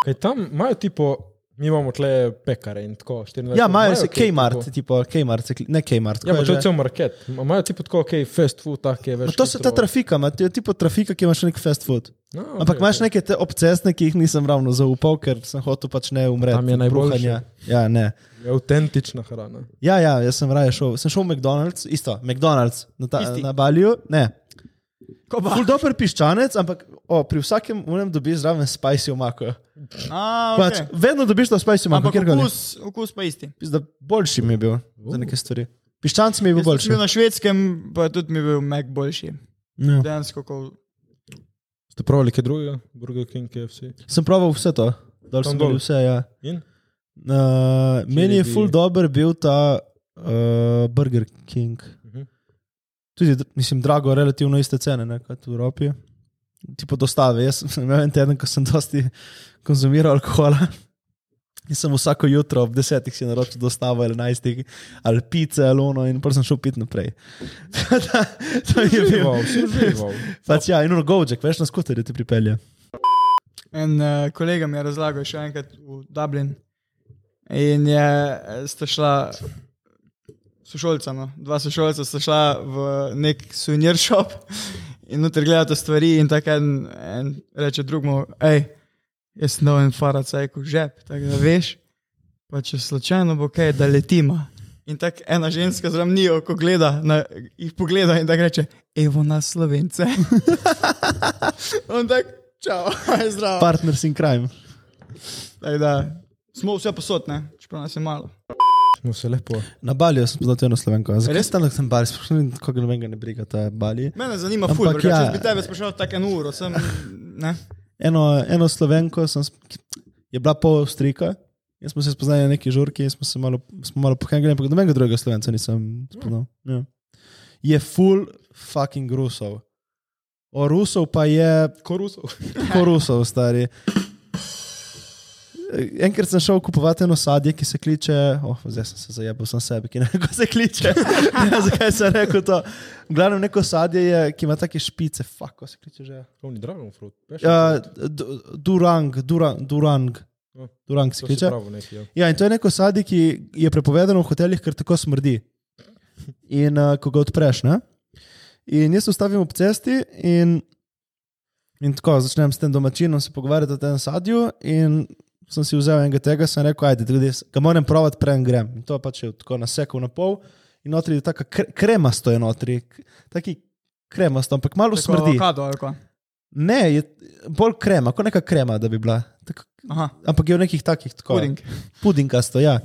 Kaj tam imajo tipo, mi imamo tle pekare in tako. 24
Ja, imajo se
kaj
Kmart,
tipo-
tipo Kmart, se kli- ne Kmart.
Ja,
ko
pa
je
to je
že?
cel market. Imajo tipo tako, ok, fast food, take
Ma
več.
To so ta trafika, ma, to je tipo trafika, ki imaš nek fast food.
No,
Ampak imaš neke te obcestne, ki jih nisem ravno zaupal, ker sem hotel pač ne umreti.
Tam je
od
najboljše.
bruhanja. Ja, ne.
Je avtentična hrana.
Ja, ja, jaz sem raje šel. Sem šel v McDonald's, isto, McDonald's na, ta,
Isti.
na Balju. Ne.
Ko pa-
Ful dober piščanec, ampak o, pri vsakem unem dobiš zraven spicy omako.
A,
Okay. Pač,
okej.
vedno dobiš to spicy
Ampak
omako, kjerkoli.
okus, okus pa isti.
Pizda, Boljši mi je bil za neke stvari. Piščanc mi je bil
Jaz sem
boljši.
bil na švedskem, pa tudi mi je bil Mac boljši.
Ja.
Dejansko, ko
Ste pravili kaj drugega? Burger King, KFC.
Sem proval vse to, dol
Tam
sem bil
dol.
vse. Ja.
In?
Uh, meni je
bi-
ful dober bil ta uh, Burger King.
Mhm.
Tudi, dr- mislim, drago, relativno iste cene ne, kot v Evropi. Tipo dostave. Jaz sem imel en teden, ko sem dosti konzumiral alkohola. In sem vsako jutro ob desetih si naročil dostavo ali enajstih, ali pice, ali ono, in potem sem šel pit naprej. Tako da, to je bilo.
Užival, si užival.
Pač ja, in ono govček, veš na skuterju ti pripelje.
En uh, kolega mi je razlagal še enkrat v Dublin. In je, eh, sta šla, sošolca, no, dva sošolca sta šla v nek suvenir shop in noter gledata stvari. In tako en, en reče drugemu, hej, jaz sem dal en faracajk v žep, tako da veš, pa če slučajno bo kaj, da letima. In tako ena ženska zramnijo, ko gleda, na, jih pogleda in tako reče, evo nas slovence. on tako, čau, aj zdravo.
Partners in crime.
Tako da smo vse posod, ne? čeprav nas je malo.
Smo se lepo.
Na Balju sem znal eno slovenko. A Zakaj
Res?
res tam sem Bali? Sploh ne koga nobenega ne briga ta Bali.
Mene zanima,
Ampak
ful, drugače,
ja.
jaz bi tebe sprašal tako eno uro, sem, ne?
Eno, eno slovenko sem, sp- je bila pol Avstrika. Jaz smo se spoznali na neki žurki, smo se malo, smo malo pohengali, ampak nobenega drugega slovenca nisem spoznal. Ja. Je full fucking Rusov. O Rusov pa je
Korusov.
tako Rusov, stari. Enkrat sem šel kupovati eno sadje, ki se kliče, oh, zdaj sem se zajel, sem sebi, ki ne vem, kako se kliče. Ne vem, Zakaj sem rekel to? Glavno neko sadje je, ki ima take špice, fuck, kako se kliče že.
Oni dragon fruit. Veš,
Ja, du- Durang, Durang, Durang,
Ja,
Durang se
to si
kliče.
pravo neki. Ja.
Ja, in to je neko sadje, ki je prepovedano v hotelih, ker tako smrdi. In uh, ko ga odpreš, ne? In jaz se ustavim ob cesti in, in tako začnem s tem domačinom se pogovarjati o tem sadju. In sem si vzel enega tega, sem rekel, ajde, tudi jaz ga moram provat, preden grem. In to pač je tako nasekal na pol. In notri je tako kre, kremasto, je notri, k- taki kremasto, ampak malo
Tako
smrdi.
Avokado, ali ko.
Ne, je bolj krema, kot neka krema, da bi bila. Tak,
Aha,
ampak je v nekih takih tako
puding.
pudinkasto. Ja.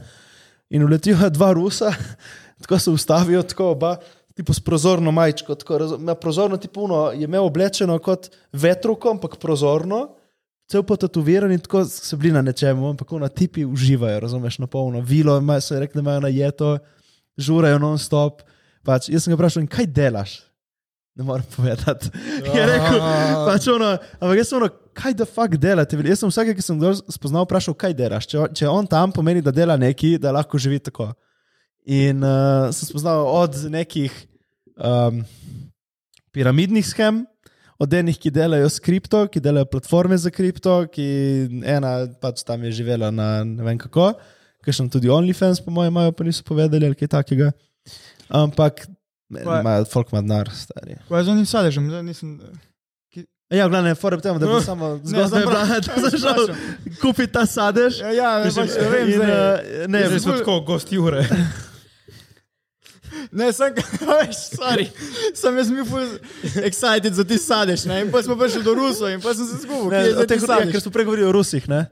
In uletijo dva Rusa, tako se ustavijo, tako oba, tipo s prozorno majčko. Tako, raz- ima prozorno tipuno je imel oblečeno kot vetruko, ampak prozorno. Cel potatoviran in tako se bili na nečemu, ampak na tipi uživajo, razumeš, na polno. Vilo imajo, se rekli, imajo na jeto, žurajo non-stop. Pač, jaz sem ga vprašal, "In kaj delaš? Ne morem povedati. Je rekel, pač ono, ampak jaz sem ono, kaj da fakt delate? Jaz sem vsake, ki sem ga spoznal, vprašal, kaj delaš. Če, če on tam pomeni, da dela neki, da lahko živi tako. In uh, sem spoznal od nekih um, piramidnih schem, od enih, ki delajo s kripto, ki delajo platforme za kripto, ki ena pač tam je živela na ne vem kako, ker sem tudi OnlyFans, po mojem, imajo, pa niso povedali ali kaj takega. Ampak,
Pa-
imajo- folk ima denar, stari.
Ko je z onim sadežem, zdaj nisem...
Ja, glavne, fora bi temu, da bi
No,
samo
Ne,
zgodaj bila, da si šel kupiti ta sadež.
Ja, ja, ne, pač, ne vem,
in,
zdaj.
eh, ne,
Zdaj smo
ful-
tako, gosti ure.
Ne, sem, veš, sorry, sem jaz mi ful excited za ti sadež, ne? In pa smo prišli do Rusov in pa sem se zgubil,
ne,
kje je
o
zdaj ti
teh- ja,
sadež?
ker smo pregovorili o Rusih, ne?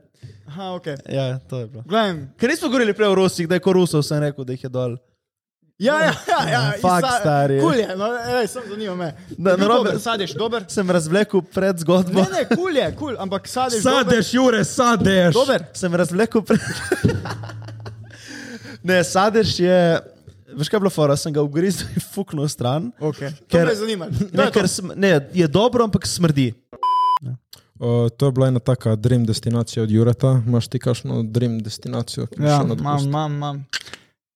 Aha, okej.
Ja, to je bilo.
Gledam,
Ker nismo govorili prej o Rusih, da je ko Rusov, sem rekel, da jih je dol.
ja, ja, ja, ja.
Ja, fakt, stari.
Kul je, no, ej, sem zanima me.
Da,
Je bil
narobe-
dober Sadež, dober?
Sem razvlekel pred zgodbo.
Ne, ne, kul je, kul, ampak sadež, dober.
Sadeš, Jure, sadeš.
Dober.
Sem razvlekel pred. ne, sadež je. Veš kaj je bilo fora, sem ga ugrizel in fuknil stran.
Okay.
Ker-
Ker me zanima.
Ne, ker sm, ne, je dobro, ampak smrdi.
Uh, to je bila ena taka dream destinacija od Jureta. Imaš ti kakšno dream destinacijo? ki bi
Ja,
šel na
imam,
dopust?
imam, imam.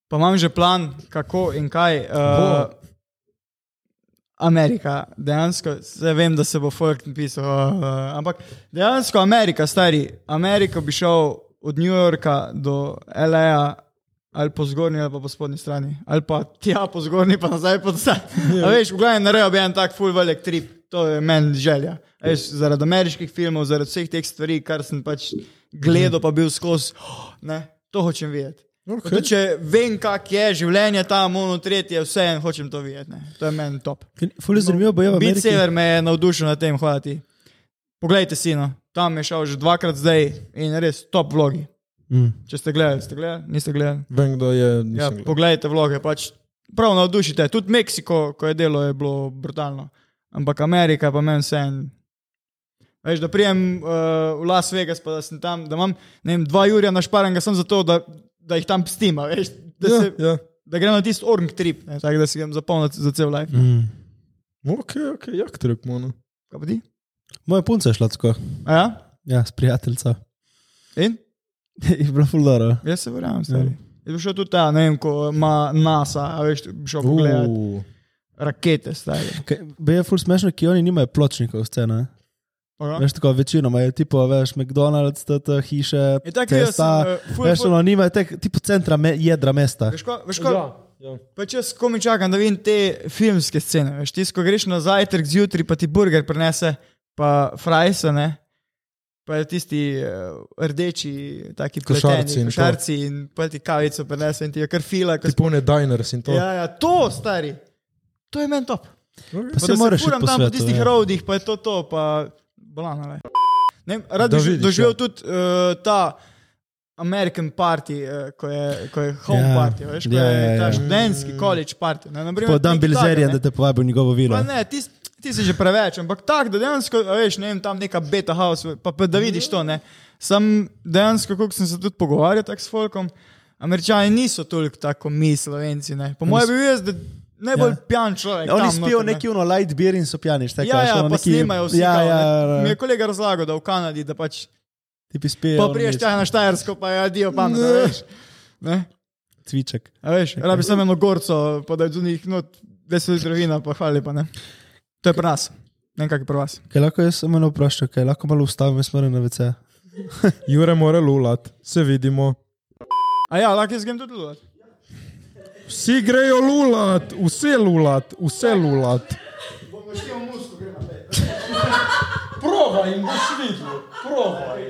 Pa imam že plan, kako in kaj. Uh, Amerika, dejansko, zdaj vem, da se bo folk napisal, uh, uh, ampak dejansko Amerika, stari, Ameriko bi šel od New Yorka do L.A. ali po zgornji ali pa po spodnji strani, ali pa tja po zgornji pa nazaj po zadnji. A Veš, v glavnem narejo bi en tak full velik trip, to je meni želja. A Veš, zaradi ameriških filmov, zaradi vseh teh stvari, kar sem pač gledal, pa bil skozi, oh, ne, to hočem videti.
Okej.
Okay. Če vem, kak je življenje tam, ono tretje, vse en hočem to videti. Ne. To je meni top.
Fully zanimivo bo je v
Bit
Ameriki.
sever me je navdušil na tem, hvala ti. Poglejte si, no. tam je šel že dvakrat zdaj in res top vlogi.
Mm.
Če ste gledali, ste gledali, niste gledali.
Vem, kdo je.
Ja,
nisem gledal.
poglejte vloge, pač prav navdušite. Tudi Meksiko, ko je delo, je bilo brutalno. Ampak Amerika pa meni vse en. Veš, da prijem uh, v Las Vegas, pa da sem tam, da imam ne vem, dva Jurija našparenega samo zato, da, da jih tam pstima, veš, da, se,
Ja, ja.
da grem na tisti orng trip, ne, tako da si grem zapolniti za cel life.
Mm.
Ok, ok, jak trip, mono.
Kaj pa ti?
Moja punca je šla tako,
A ja?
ja, s prijateljico.
In?
je bilo fulano.
Jaz se verjamem,
Ja.
stari. Jaz bi šel tudi ta, ne vem, ko ima NASA, a veš, bi šel pogledat
Uh,
rakete, stari.
Je ful smešno, ki oni nimajo pločnikov scena.
Aha.
Veš tako večinoma je tipo, veš, McDonald's, te, te hiše,
Je tako, jaz sem,
cesta.
eh, ful-
Veš,
ful-
ono nimajo teh tipo centra me, jedra mesta.
Veš, ko, veš, ko,
Ja.
Pač jaz komi čakam, da vidim te filmske scene. Veš, ti, ko greš na zajtrk zjutraj, pa ti burger prenese, pa frajsa, ne. Pa je tisti uh, rdeči, taki
Košarci
pleteni,
in to.
košarci in, in pa ti kavico prenese in ti je kar fila. ko
Ti polne diners in to.
sp- Ja, ja, to, stari. To je meni top.
Pa
Pa
se
da
moraš iti
furam
po
tam po
svetu.
tistih
ja.
rovdih, pa je to to, pa bolano le. Ne, vem, rad bi
Da
že
vidiš,
doživel
ja.
tudi uh, ta American party, uh, ko, je, ko je home
Ja.
party, veš, ko
Ja,
je
ja,
ta
ja.
študentski college party. Ne, na primer,
Po Dan
nekaj
Bilzerija,
takega, ne.
da te povabi v njegovo vilo.
Pa ne, ti, s- ti si že preveč, ampak tak, da dejansko, a veš, ne vem, tam neka beta house, pa, pa da vidiš to, ne. Sam dejansko, koliko sem se tudi pogovarjal tak s folkom, američani niso toliko tako mi, slovenci, ne. Po mojem bi bil jaz, da najbolj
Ja.
ja. pijan človek.
Oni
tam
spijo
noter, ne.
neki uno light beer in so pijani, šta
Ja, ja, pa snimajo vsi.
Ja,
kao, ne.
ja,
Mi
ja.
je kolega razlagal, da v Kanadi, da pač.
Ti pi spijo.
Pa
ono
priješ
nič.
tja na Štajersko, pa je adijo pamet, a veš. Ne?
Cviček.
A veš, rabi samo eno gorco, pa da je zunaj, no, deset litrov vina, pa hvala lepa, ne. To je pri nas. Ne vem, kak je pri vas.
Kaj lahko jaz samo eno vprašam, kaj lahko malo ustavim, jaz moram na WC.
Jure mora lulat, se vidimo.
A ja, lahko jaz grem tudi lulat.
Vsi grejo lulat, vse lulat, vse lulat. Probaj in boš videl, probaj.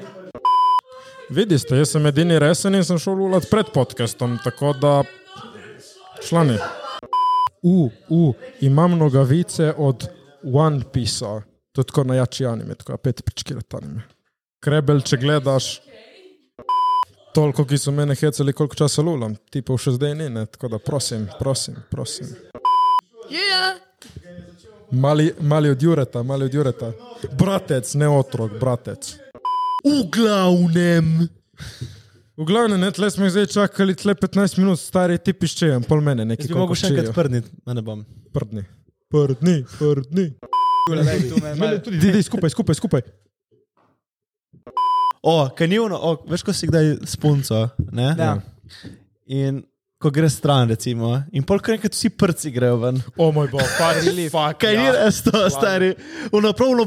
Vidiš, te, jaz sem edini resen in sem šel lulat pred podcastom, tako da člani. U, u, imam nogavice od One Piece-a, to je tako najjači anime, tako pet pičkirat anime. Krebel, če gledaš, Toliko, ki so mene hecali, koliko časa lulam, ti pa še zdaj ni, ne? tako da prosim, prosim, prosim. Mali, mali od Jureta, mali od Jureta. Bratec, ne otrok, bratec. V glavnem. V glavnem, ne, tle smo jih zdaj čakali, tle 15 minut stari ti piščejem, pol mene
Jaz
nekaj.
bi mogel še enkrat prniti, ne, ne bom.
prdni. Prdni, prdni. Tudi ti, ti, skupaj, skupaj, skupaj.
O, kanivno, o, veš, ko si kdaj spunco, ne?
Ja.
In ko greš stran, recimo, in polk enkrat vsi prsti grejo ven.
Ja.
O moj bog, pač, fuck,
Kaj ni res to, stari? Unapravno.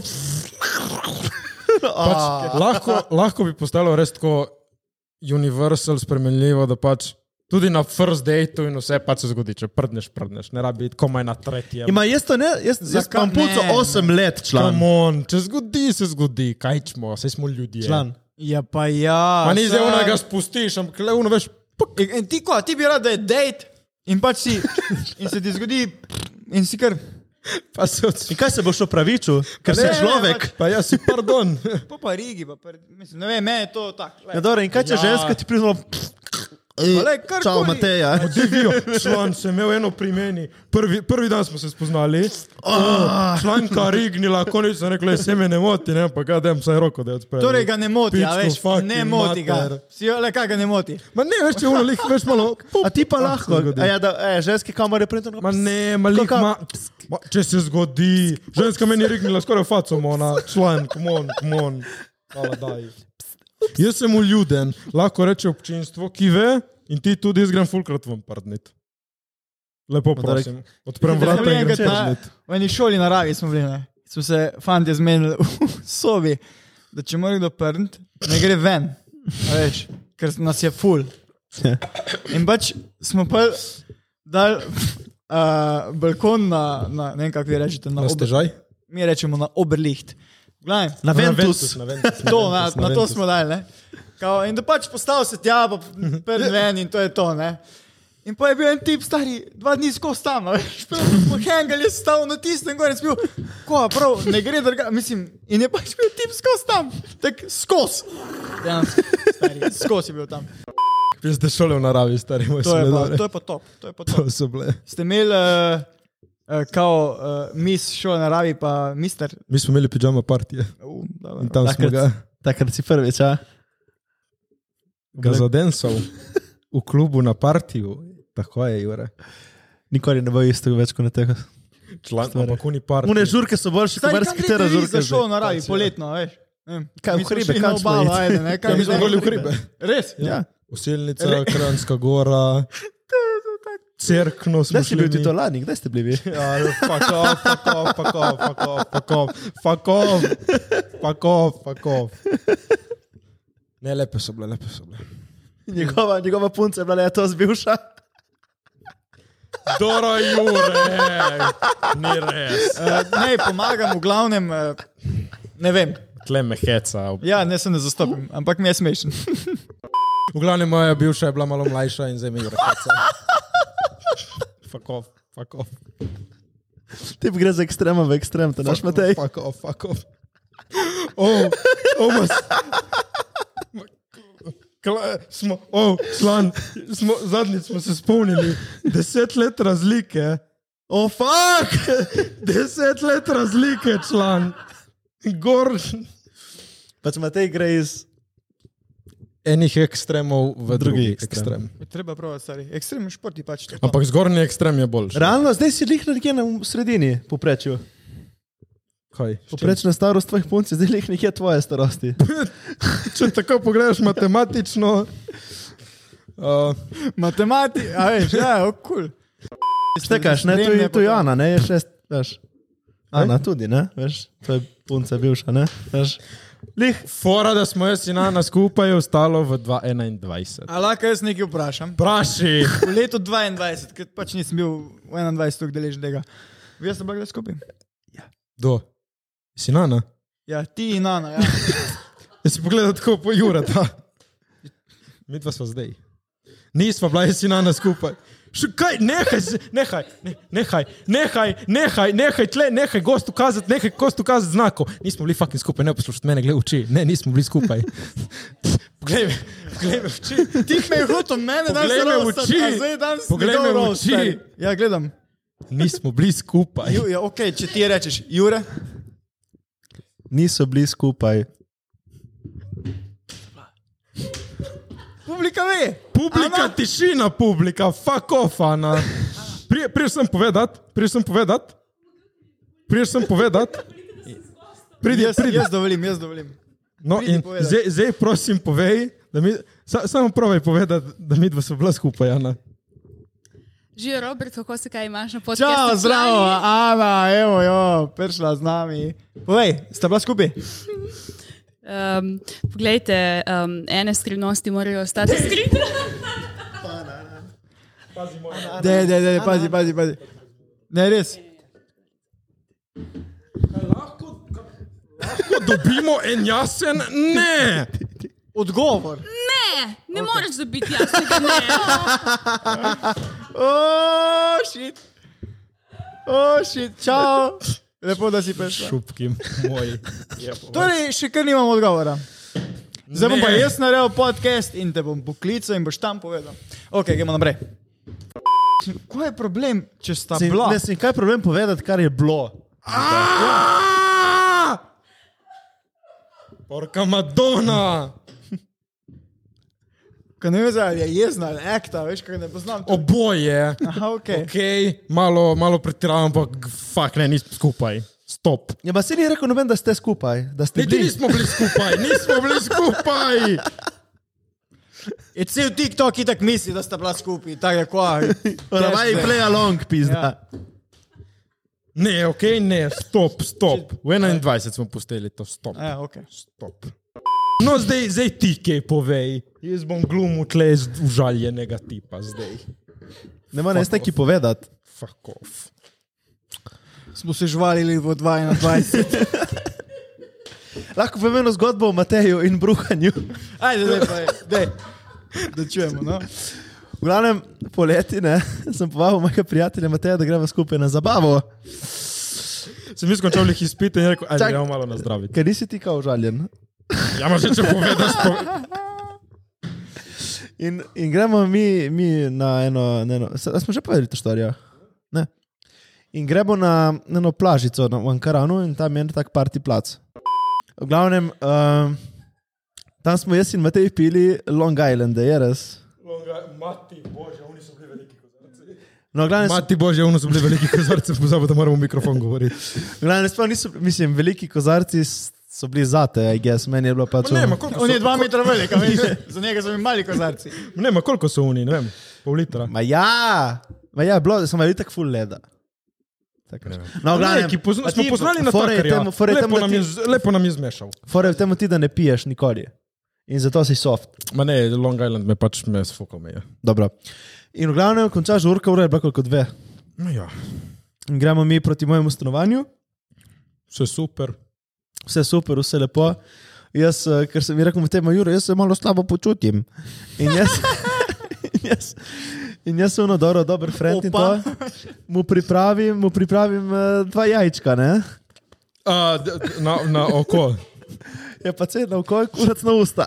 pač, lahko, lahko bi postalo res tako universal, spremenljivo, da pač tudi na first dateu in vse pač se zgodi, če prdneš, prdneš, ne rabi iti komaj na tretje.
Ima Ja, jaz to ne, jaz, jaz
Zakaj
imam punco
ne?
8 let, član.
Kamon, če zgodi, se zgodi, kaj smo, vse smo ljudje.
član.
Ja, pa ja.
Pa ni zdaj
saj.
unega spustiš, ampak le uno veš, puk,
In, in ti, ko, ti bi rad, da je dejt in pač si, in se ti zgodi, in si kar,
pa se odsvi.
In kaj se boš opravičil, ker
Ne,
si
ne,
človek?
Pa jaz si, pardon.
po pa rigi, pa, pa mislim, ne vem, meni je to tako.
Ja, dobro, in kaj če
Ja.
ženska ti priznala?
lej, karkoli.
Čau, Mateja.
Divijo, član sem imel eno pri meni. Prvi, prvi dan smo se spoznali. Oh, članka rignila, konec sem rekel, se me ne moti, ne, pa ga dem saj roko, da je odprl.
Torej ga ne moti, a
Pičko
veš,
fucking
ne moti ga.
mater.
Si, le kaj ga ne moti.
Ma ne, veš, če unalik, veš malo. Pup,
A ti pa lahko.
se zgodi.
A ja, da, e, ženski kamor je printal.
Ma ne, ma lik,
Kaka-
ma, ma, če se zgodi. Ženska meni je rignila skoraj facom, ona, član, kmon, kmon. Hvala, daj. Jaz sem uljuden, lahko reče občinstvo, ki ve, In ti tudi jaz grem fulkrat vam prdnit. Lepo
Podarek.
prosim. Odprem
Zdaj
vrata in
enkrat
grem
na-
prdnit.
V eni šoli na ravi smo bili, ne. smo se fanti zmenili v sobi, da če mora kdo prnt, ne gre ven, a veš, ker nas je full. In pač smo pa dal uh, balkon na, na ne vem, kako vi rečete, na,
Na
ober-
stežaj?
mi rečemo na oberliht. Glavim,
Na Ventus.
Na Ventus.
To, na,
na
na to
Ventus.
smo dali. ne. Kao, in da pač postal se tja, pa prvi ven in to je to. Ne? In pa je bil en tip, stari, dva dni skozi tam, a veš, pohengal je stal na tistem gor in spil, ko prav, ne gre drugače, mislim, in je pač bil tip skozi tam, tak skozi. Dejansko, stari, skozi je bil tam.
Vi ste šole v naravi, stari moj
To je, pa,
sledar.
to je pa top, to je pa top.
To so bile.
Ste imeli, uh, uh, kao, uh, mis šole naravi, pa mister.
Mi smo imeli pijama partije
Uh, dobro.
in tam smo
Takrat-
ga,
Takrat si prvič, a?
ga zadensal v klubu na partiju. Tako je, Jure.
Nikoli ne bo isto več kot na teh.
Član,
Stvari.
ampak oni partije.
Mune žurke so boljše,
Stari,
kot marsikatera
Za
žurka.
šolo
zdaj.
na ravi, poletno, veš. Ne vem,
Kaj, v
mi smo
hribe,
šli
kam
na
smo
obalo,
iti?
ajde, ne, kaj
Ja, mi smo
ne-
hodili v hribe.
Res?
Ja.
Usilnica, Kranjska gora, Cerkno smo
Kdaj si
šli
bil
mi.
ti to no? lani, kdaj ste bili vi?
Ja, fuck off, fuck off, fuck off, fuck off, fuck off, fuck off, fuck off, fuck off. Ne, lepe so bile, lepe so bile.
Njegova, njegova punca je bila ja to zbivša.
Dora Jure, ni res.
Eh, Ne, pomagam, v glavnem, eh, ne vem.
Tle me heca.
Ja, ne se ne zastopim, ampak mi je smešen.
V glavnem moja bivša je bila malo mlajša in zdaj me igra heca. Fuck off, fuck off,
Ti gre za ekstrema v ekstrem, to naš Matej.
fuck off, fuck off. Oh, oh, mas... Kla, smo, oh, član, smo, zadnjič smo se spomnili, deset let razlike. Oh, fuck! Deset let razlike, član. Gor.
Pač Matej gre iz...
Enih ekstremov v
drugi
drugi
ekstrem.
ekstrem.
Treba praviti, stari. Ekstremni športi pač.
Ampak zgornji ekstrem je boljši.
Realno, zdaj si lih nekje na sredini, poprečju.
Kaj?
Poprečna starost tvojih punc je zdaj lih nekje tvoje starosti.
Če tako pogledaš matematično. Uh,
Matematika, a veš, ja, okul.
Štekaš, ne, tu je, tu je Ana, ne, je šest, veš. Ana
Kaj?
tudi, ne, veš, to je punca bivša, ne, veš. Lih,
fora, da smo jaz in Ana skupaj, je ostalo v 2,21.
A lahko jaz nekaj vprašam?
Praši!
V letu 22, ker pač nisem bil v 21 deležen tega. Vi ste bili skupaj?
Do. Si Ana?
Ja, ti in Ana, ja.
Jaz si pogledal tako po Jurata. Mi dva smo zdaj. Nismo bila jaz in Ana skupaj. Še kaj, nehaj, z- nehaj, ne- nehaj, nehaj, nehaj, nehaj, tle, nehaj, gostu kazati, nehaj, gostu kazati znako. Nismo bili fucking skupaj, ne poslušaj mene, gledaj v oči. Ne, nismo bili skupaj. Poglej me, poglej me v oči.
Ti me je hotel mene, da
Poglej me v oči. Poglej me v oči.
Ja, gledam.
Nismo bili skupaj.
Ju, ja, ok, če ti rečeš, Jure,
niso bili skupaj.
publika ve.
Publika,
Ana?
Ana? tišina, publika, fuck off, Ana. Prije, prije sem povedat, prije sem povedat, prije sem povedat. Pridi,
Jaz,
pridi.
jaz dovolim, jaz dovolim.
No,
pridi
in
povedat.
zdaj, zdaj prosim, povej, da mi, sa, samo pravi povedat, da mi dva smo bila skupaj, Ana.
Živijo, Robert, kako se kaj imaš na področju?
Čau, zdravo, Ana, evo jo, prišla z nami. Povej, sta bila skupaj?
Um, poglejte, um, ene skrivnosti morajo ostati skrite.
Ne, ne, ne, pazi, pazi, pazi. Ne, res.
Ko dobimo en jasen, ne.
Odgovor.
Ne, ne okay. moreš zabiti jasnega. Ne.
O, šit. O, šit, čau. Lepo, da si prišla.
Šupki moji.
Torej, še kar nimam odgovora. Zdaj bom pa
Ne.
jaz naredil podcast in te bom poklical in boš tam povedal. Ok, gremo naprej. Kaj je problem, če sta
Si-
bila?
Ne, si kaj problem povedati, kar je bilo.
Ah!
Aaaaaah! Porka Madonna!
Ko ne vem, zdaj, ali je jezna ali ekta, veš, kaj ne poznam. Ah, tega.
Oboje.
Aha, ok.
Ok, malo, malo pretiravam, ampak fakt ne, nismo skupaj. Stop.
Ja, pa si ni rekel noben, da ste skupaj, da ste
Ne, ti
bili.
nismo bili skupaj, nismo bili skupaj.
Je cel TikTok itak misli, da sta bila skupaj, tako je kva.
Pravaj, play along, pizda.
Ne, ok, ne, stop, stop. V 21 smo posteli to, stop.
Ja, ok.
stop. No, zdaj, zdaj ti kaj povej. Jaz bom glumil tle z užaljenega tipa zdaj.
Ne morem jaz neki povedati.
Fuck off.
Smo se žvalili v 22.
Lahko povem eno zgodbo o Mateju in bruhanju.
Ajde, zdaj pa je, dej, da čujemo. No?
V glavnem poleti ne, sem povabil mojega prijatelja Mateja, da greva skupaj na zabavo.
Sem jaz končal jih izpite in rekel,
Čak-
ajde, gremo malo nazdraviti.
Ker nisi ti kao žaljen.
Ja, moraš če povedaš, po...
In, in gremo mi, mi na eno, na eno se, smo že povedali to štorijo. Ne. In gremo na na eno plažico na v Ankaranu in tam je en tak parti plac. V glavnem, uh, tam smo jaz in Matej pili Long Island, je res.
Mati bože, oni so bili veliki kozarci.
No, v glavnem,
Mati bože, oni so bili veliki kozarci, pozabil, da moramo v mikrofon govoriti.
v glavnem sploh niso, mislim, veliki kozarci s- so bili zate, I guess, meni je bilo pač.
Ne,
ono-
ma koliko
On je
so,
dva metra velik, a veš, za njega so mi mali kozarci.
ne, ma koliko so oni, ne vem, pol litra.
Ma ja, ma ja, bilo, sem imel tako full leda. Tako reč. No, v glavnem,
Ne, ki pozna,
pa
smo
ti-
poznali na
fora je
takarja.
temu- fora je temu,
Lepo
da
nam
ti-
je z- Lepo nam je zmešal.
Fore v tem ti, da ne piješ nikoli. In zato si soft.
Ma ne, Long Island me pač me sfokal me je.
Dobro. In v glavnem končaš urka, ura je bila kot dve.
No ja,
In gremo mi proti mojemu stanovanju,
vse super.
vse super, vse lepo. Jaz, eh, ker sem ji rekel, temu Juro, jaz se malo slabo počutim. In jaz, in jaz, in jaz sem ono dobro, dober friend in to. Mu pripravim, mu pripravim eh, dva jajčka, ne?
A, d- na, na oko.
Je pa cena, kako je kurac na usta.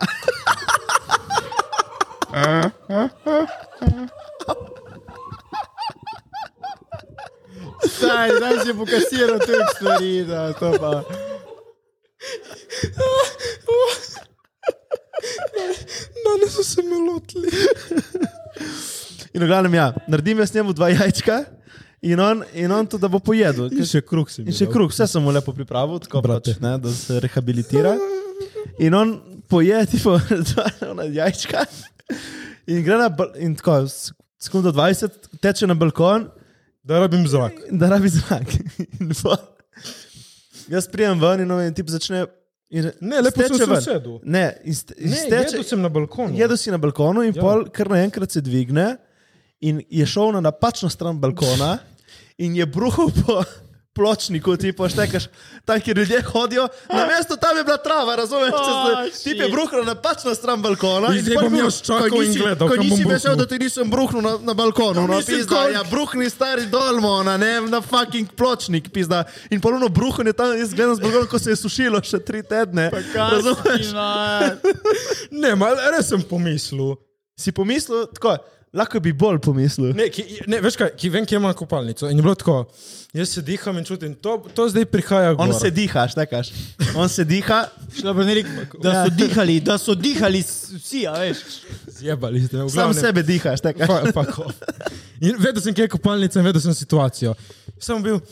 Saj, zdaj si je pokasiral te stvari, da to pa.
Danes so se me lotili.
In v glavnem, ja, naredim jaz njemu dva jajčka in on, in on to, da bo pojedel.
In še kruh si.
In še kruh, vse sem mu lepo pripravil, tako
Brate.
pač, ne, da se rehabilitira. In on poje tipo, dva ona jajčka in gre na bal- in tako, s- sekundo 20 teče na balkon
Da rabim zrak.
in da rabi zrak. In pol Jaz prijem ven in on tip začne. In
Ne, lepo sem
steče
se
ven.
usedel.
Ne, in ste, in
Ne,
steče,
jedel sem na balkonu.
Jedel si na balkonu in
Ja.
ja. pol kar naenkrat se dvigne in je šel na napačno stran balkona in je bruhal po pločniku, ti poštekaš, tam kjer ljudje hodijo, na mesto tam je bila trava, razumeš?
Oh,
Oh, ti je bruhal na napačno stran balkona
In Ah, zdaj
pol
bom
bil-
jaz čakal
ko
in
nisi-
gledal,
Ko
kam
nisi
bom
vesel,
bruhnil.
da ti nisem bruhnil na, na balkonu, no,
nisem
pizda,
konč.
ja, bruhni stari dolmo, na ne, na fucking pločnik, pizda. In ponovno bruhanje tam, jaz gledam z balkona, ko se je sušilo še tri tedne. Razumeš?
Ne, ma, res sem pomislil.
Si pomislil, tako, lahko bi bolj pomislil.
Ne, ki, ne, veš kaj, ki vem, kje ima kopalnico. In je bilo tako, jaz se diham in čutim, to, to zdaj prihaja gor.
On se diha, štekaš. On se diha,
Šla bi rekel, da so dihali, da so dihali s- vsi, a veš.
zjebali, ste, v
sam
glavnem.
sebe diha, štekaš.
Pa, pa ko. In vedel sem, kje je kopalnica in vedel sem situacijo. Sem bil,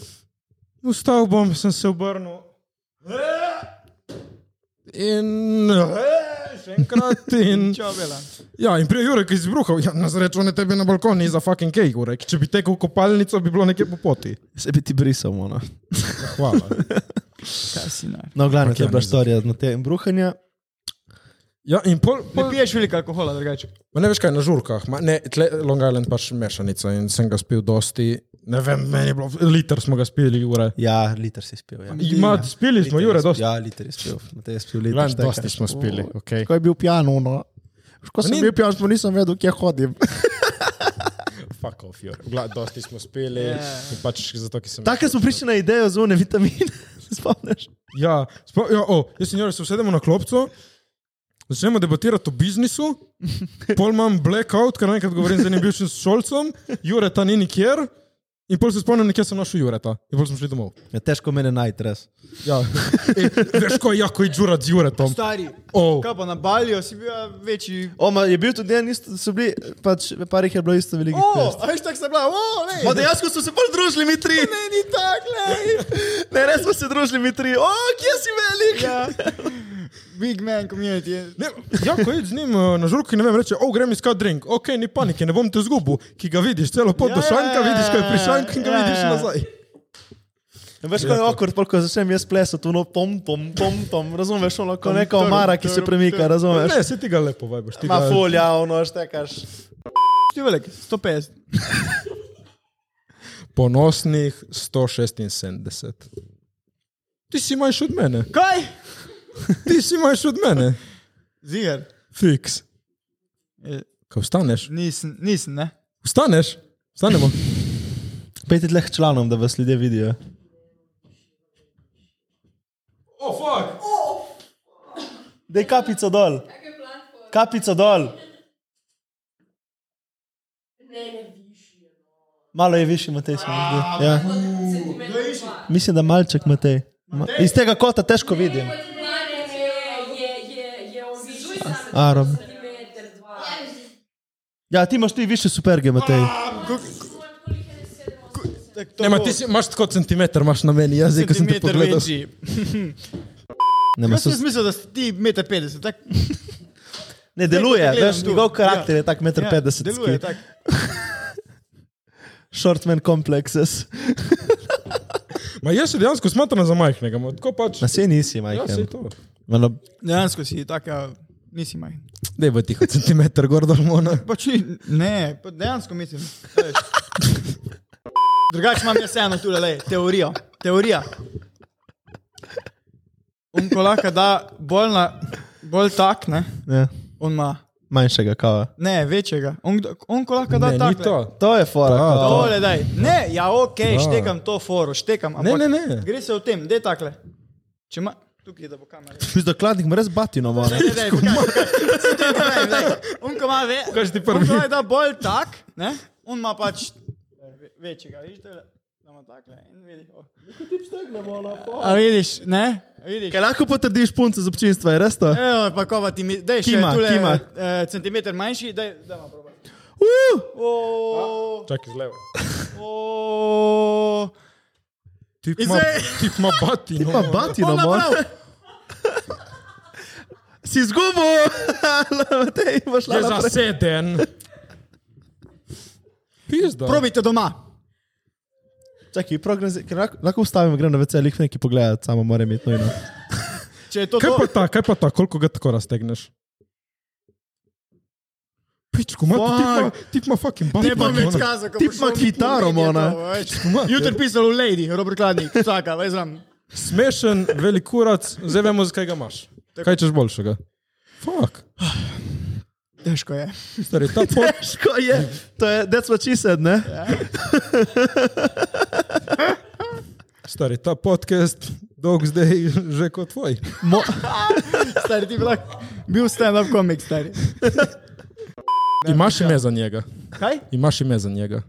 vstal bom, sem se obrnil. In še enkrat. In,
Čau, Bela.
ja, in prej je Jurek izbruhal, ja, na srečo ne tebe na balkoni za fucking kej, Jurek. Če bi tekel v kopalnico, bi bilo nekje po poti. Ja,
Se bi ti brisal, ono.
Hvala.
Kaj si naj?
No, glavno, to je
ja,
bila
ne,
storija na tem bruhanju.
Ja, in pol,
Ne
pol
piješ veliko alkohola, drugače.
Ma ne veš kaj, na žurkah, ma, ne, tle, Long Island pač mešanica in sem ga spil dosti, ne vem, meni je bilo, liter smo ga spili, ure.
Ja, liter si spil. Ja.
Ima, spili smo,
Liter
Jure,
je spil,
dosti.
Ja, liter je spil. Matej je spil
Glavno,
liter. štekaš.
dosti smo spili, okej.
Ko je bil pijan, ono. Ko sem
Ni-
bil pijan, smo nisem vedel, kje hodim.
Fuck off, Jure. Gla, dosti smo spili,
Ja.
in pač zato, ki sem...
Takrat smo prišli na idejo zune vitamine. Se Spomniš?
Ja, spo, ja o, jaz in Jure se usedemo na klopco, začnemo debatirati o biznisu, pol imam blackout, ker naenkrat govorim z enim bivšim šolcem, Jureta ni nikjer, in pol se spomnim, nekje sem našel Jureta, in pol smo šli domov.
Ja, težko mene najti, res.
Ja. E, veš, ko je jako je Džurat z Juretom.
Stari,
Oh.
kaj pa na Balju, si bil a, večji.
O, ma, je bil tudi en, isto, so bili, pač parih je bilo isto veliko.
O, a veš, tako se bila, o,
Pa
ne.
dejansko smo se bolj družili, mi tri.
Ne, ni tako, ne.
Ne, res smo se družili, mi tri. O, kje si velik?
Ja. big man community.
Ne, Jako je z njim eh, na žurki, ne vem, reče, o, grem iskat drink, ok, ni panike, ne bom te zgubil, ki ga vidiš celo pot do
Ja, ja,
šanka,
ja,
vidiš, ko je pri
ja,
šanku in ga
ja,
vidiš
ja.
nazaj.
Veš, kaj je okor, pa ko začnem jaz plesati, ono pom, pom, pom, pom, razumeš, ono kot neka
trum,
omara, ki se
trum,
premika,
trum.
razumeš.
Ne, se ti ga lepo vajbaš, ti
Ma
ga
folja, ono, štekaš.
Ti velik, 150.
Ponosnih 176. Ti si manjši od mene,
Kaj?
ti si manjši od mene,
Ziger.
fiks.
Eh,
Kaj vstaneš?
Nisem, nisem, ne?
Vstaneš? Vstanemo.
Pejte tleh članom, da vas ljudje vidijo.
O, oh, fuck!
Dej kapico dol. Kapico dol. Malo je višji, Matej. se mi
Ah,
zdi. Ja. Mislim, da malček Matej. Ma- Iz tega kota težko vidim. Arom. Ja, ti imaš ti više superge, Matej.
Tak to
Nema,
bo
ti si, imaš tako centimeter, imaš na meni jezik, ko sem te
centimeter
pogledal.
večji.
Ne, ma
Jaz
so,
sem mislil, da si ti 1,50 m, tako
ne deluje,
gledam
veš,
tu.
njegov karakter
Ja.
je tak 1,50
Ja, deluje,
m.
tako.
Short man complexes.
Ma jaz se dejansko smatram za majhnega, ma tako pač.
Na sej nisi,
Ja,
majhen.
sej to.
Malo-
Dejansko si tak, ja, nisi majhen.
Dej bo tiho centimeter gor dol no. mona.
Pač ni, ne, pa dejansko mislim. veš. Drugače imam jaz eno tu, le, teorijo. Teorija. On ko lahko da bolj, na, bolj tak, ne,
Ja.
on ima,
Manjšega kava.
ne, večjega. On, kdo- on ko lahko da
Ne, ni
tak.
to.
To je fora.
Da.
kot to.
Tole, daj. Ne, ja, ok, štekam to foro, štekam. ampak
ne, ne.
Gre se v tem, da je takle. Če ima, tukaj da bo kamera.
Mislim, da kladnik ima res batino, vane.
Ne, ne, ne, ne. On ko ima ve,
Kaj si ti
on
prvi?
ko je da bolj tak, ne, on ima pač ve- večjega, vidiš, tole, da ima takle in vidi. A vidiš, ne? A Vidiš.
Kaj lahko potrdiš punce z občinstva, je res to?
Evo, pa kova ti mi, daj še
Kima,
tule,
kima.
eh, centimeter manjši, daj, da ima proba.
Čakaj, zlevo.
Oooo.
Tip
In
ima,
zdaj-
tip ima no. batino.
Pa
ono.
batino, moj. Si izgubil! Matej, boš
Je
lahko naprej.
zaseden. Pizda.
Probite doma.
Čakaj, prognozi, ker lahko, lahko ustavim, grem na veselih nekaj pogledati, samo moram imeti nojno.
Če je to
Kaj
to,
pa ta, kaj pa ta, koliko ga tako raztegneš? Pičku, mati, tip ima, tip ima fucking batino.
Ne bom več kazal,
Tip ima kitaro, mona.
Jutri pisal v Lady, Robert Kladnik, vsaka, veš, znam.
Smešen, velik kurac, zdaj vemo, zakaj ga imaš. Kaj češ boljšega? Fuck.
Težko je.
Stari, ta pot,
Težko je, to je, that's what she said, ne?
stari, ta podcast, dolg zdaj že kot tvoj.
Mo
Stari, ti bi lahko bil stand-up komik, stari.
Imaš ime za njega.
Kaj?
Imaš ime za njega.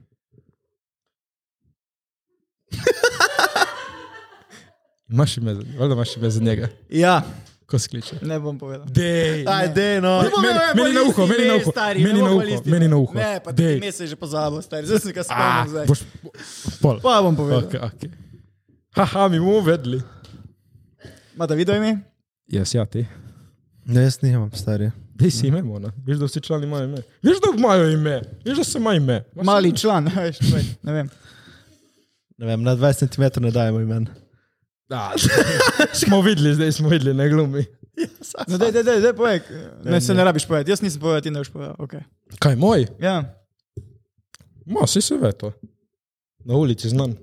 Imaš ime za, valjda imaš ime za njega,
Ja,
ko se kliče.
ne bom povedal.
Dej.
Ajde, no.
bom- Meni- meni na uho, meni na uho, meni na uho, meni na uho.
Ne, pa
Dej.
ti me se že pozabo, stari, zdaj sem ga
Ah,
spomnil zdaj.
boš, pol.
Pa bom povedal.
Okay, okay. Haha, mi bomo vedeli.
Ma da video ime?
Jaz, ja, ti.
Ne, jaz nimam, stari.
Dej si ime, mona. Veš, da vsi člani imajo ime. Veš, da imajo ime. Veš, da se ima ime. Imaš
Mali
ime?
član, veš, tvoj, ne vem.
Ne vem, na 20 cm ne dajemo imen.
Da, smo videli, zdaj smo videli, ne glumi.
No, daj, daj, daj, daj, povej. Ne, se ne rabiš povedati, jaz nisem povedal, ti ne boš povedal, ok.
Kaj moj?
Ja.
Ma, si se ve to. Na ulici znam.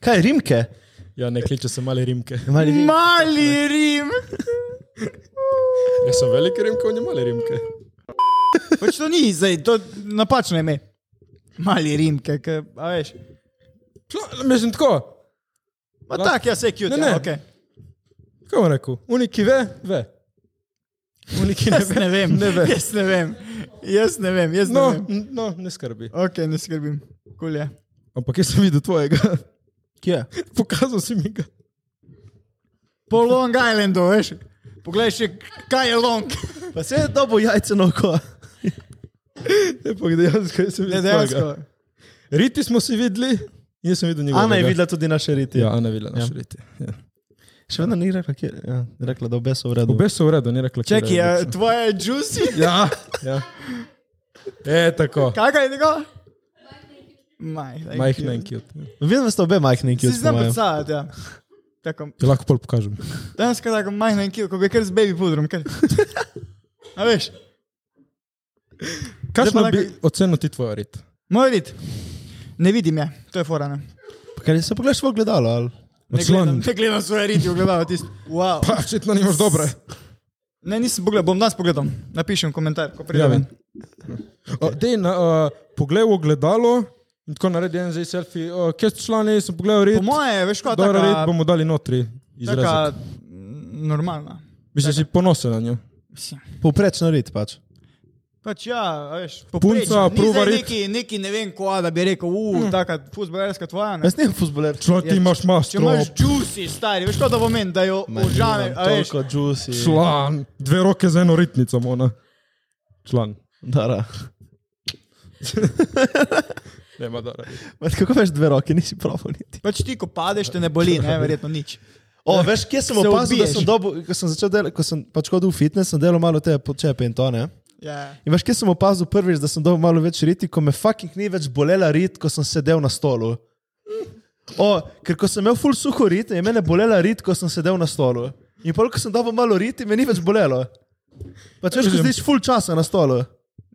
Kaj, rimke?
Ja, ne kliče se male rimke.
Mali rim.
Mali Rim!
Jaz sem velike rimke, on je male rimke.
Pač to ni, zdaj, to napačno ime. Mali Rim, kaj, a veš.
Čla, No, mislim tako,
Ma tak, jaz se kjut,
Ne, ne.
ja, ok.
kaj bom rekel? Unik, ki ve, ve. Unik, ki ne
Jaz
ve.
ne vem,
Ne ve.
Jaz ne vem, jaz ne vem, jaz ne
No,
vem.
n- no, ne skrbi.
Ok, ne skrbim, kul je.
Ampak jaz sem videl tvojega.
Kje?
Pokazal si mi ga.
Po Long Islandu, veš. Poglej še, kaj je Long.
Pa se je dobo jajce na oko.
Ampak dejansko jaz sem
Ne,
videl tvojega.
dejansko.
Riti smo si videli in jaz sem videl njegovega.
Ana je videla tudi naše riti.
Ja, Ana je videla naš ja. riti. Ja.
Še vedno ni rekla, kje, ja, je rekla da obe so v redu.
Obe so v redu, ni rekla,
Čekaj,
katera je
je
boljša.
tvoja juicy?
Ja, ja. E, tako.
Kakaj je njegov? Majhna.
Majhna in cute.
Vidim, da ste obe majhni,
Si
ki jo
znam
poznam.
predstavljati, ja. Tako,
Ti lahko pol pokažem.
danes kaj tako majhna in kilo, ko bi kar z baby pudrom. Kar. A veš,
Kakšno
lahko-
bi ocenil ti tvoj rit?
moj rit. Ne vidim je, to je forana.
Kaj se pogledaš v ogledalo? Ali?
Ne gledam,
Odslon.
ne gledam svoje riti, ogledal tisto. Wow.
Pa, očitno nimaš dobre.
Ne, nisem pogledal, bom danes pogledal. Napišem komentar, ko pridem.
Javi.
ven.
O, Dej, na, uh, poglej v ogledalo in tako naredi en zdaj selfie. O, kje so člani, sem pogledal rit.
Po moje, veš, kot
Dobro, rit
taka,
bomo dali notri.
taka
Izrezek.
mm, normalna.
Mislim, si ponosen na njo.
Mislim.
Povprečno rit pač.
Pač ja, a veš,
Punca, pruva rit.
Neki, neki ne vem, ko da bi rekel, uf, mm. taka futbolerska tvoja. Ne?
Jaz nisem futboler.
Člo, ti imaš
Če
mastro.
imaš juicy, stari, veš, kot da pomeni, da jo užame, a veš.
Toliko juicy.
Član. Dve roke za eno ritnico, mona. Član.
Dara.
Nema dara.
Ma, kako veš dve roke, nisi pravo niti.
Pač ti, ko padeš, te ne boli, ne, verjetno nič.
O, veš, kje sem
Se
opazil, da
odbiješ.
sem dobil, ko sem začel delati, ko sem pač hodil v fitness, sem delal malo te počepe in to ne.
Ja.
In veš, kje sem opazil prvič, da sem dobil malo več riti, ko me fucking ni več bolela rit, ko sem sedel na stolu. O, ker ko sem imel full suho rit, je mene bolela rit, ko sem sedel na stolu. In pol, ko sem dobil malo riti, me ni več bolelo. Pač veš, ko sediš full časa na stolu.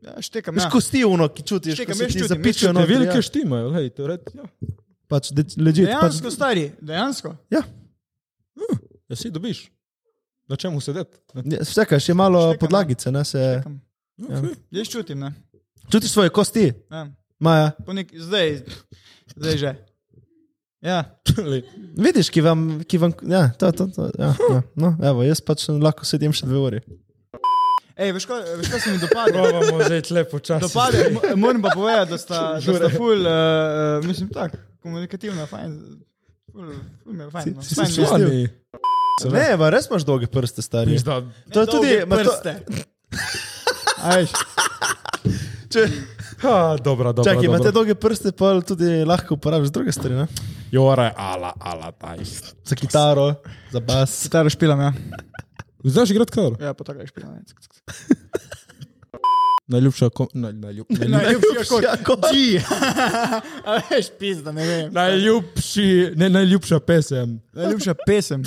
Ja, štekam,
Veš,
ja.
kosti uno, ki čutiš,
Čekaj,
ko se
jaz
ti
čutim, jaz
zapičijo
čutim.
na
Številke štimajo, hej, to red. Ja.
Pač, de- legit, pač,
Dejansko, stari, dejansko.
ja.
ja, si dobiš. Na čemu sedeti? Ne?
Ja, Čakaj, še malo
Štekam, ja.
podlagice, ne se.
Štekam. Jaz čutim, ne.
Čutiš svoje kosti,
Ja.
Maja.
Po Nek, zdaj, zdaj že. Ja,
Lej,
Vidiš, ki vam, ki vam, ja, to, to, to, ja, ja. No, evo, jaz pač lahko sedim še dve uri.
Ej, veš, kaj veš, kaj se mi dopada.
Probamo zdaj tle počasi.
Dopade, mo- moram pa povedati, da sta, da sta ful, uh, mislim, tako, komunikativna, fajn. Ful, ful mi je fajn. no.
Si- si
Fajn mi je.
slišal?
Člani.
Ne, ma, res imaš dolge prste, stari.
Da,
To je tudi,
Dolge
ma, to,
prste. A veš,
če,
ha, dobra, dobra.
čakaj, imaš
dobra.
te dolge prste, pa tudi lahko uporabiš druge stvari, ne?
Jora, ala, ala, taj.
Za kitaro, za bas.
Kitaro špilam, ja.
Znaš igrati kar?
Ja, pa tako špilam. ja.
Najljubša kom... Naj, najljub...
Najljubši akord.
Jako,
Ja, G. A veš, pizda, ne vem.
najljubši, ne najljubša pesem.
Najljubša pesem.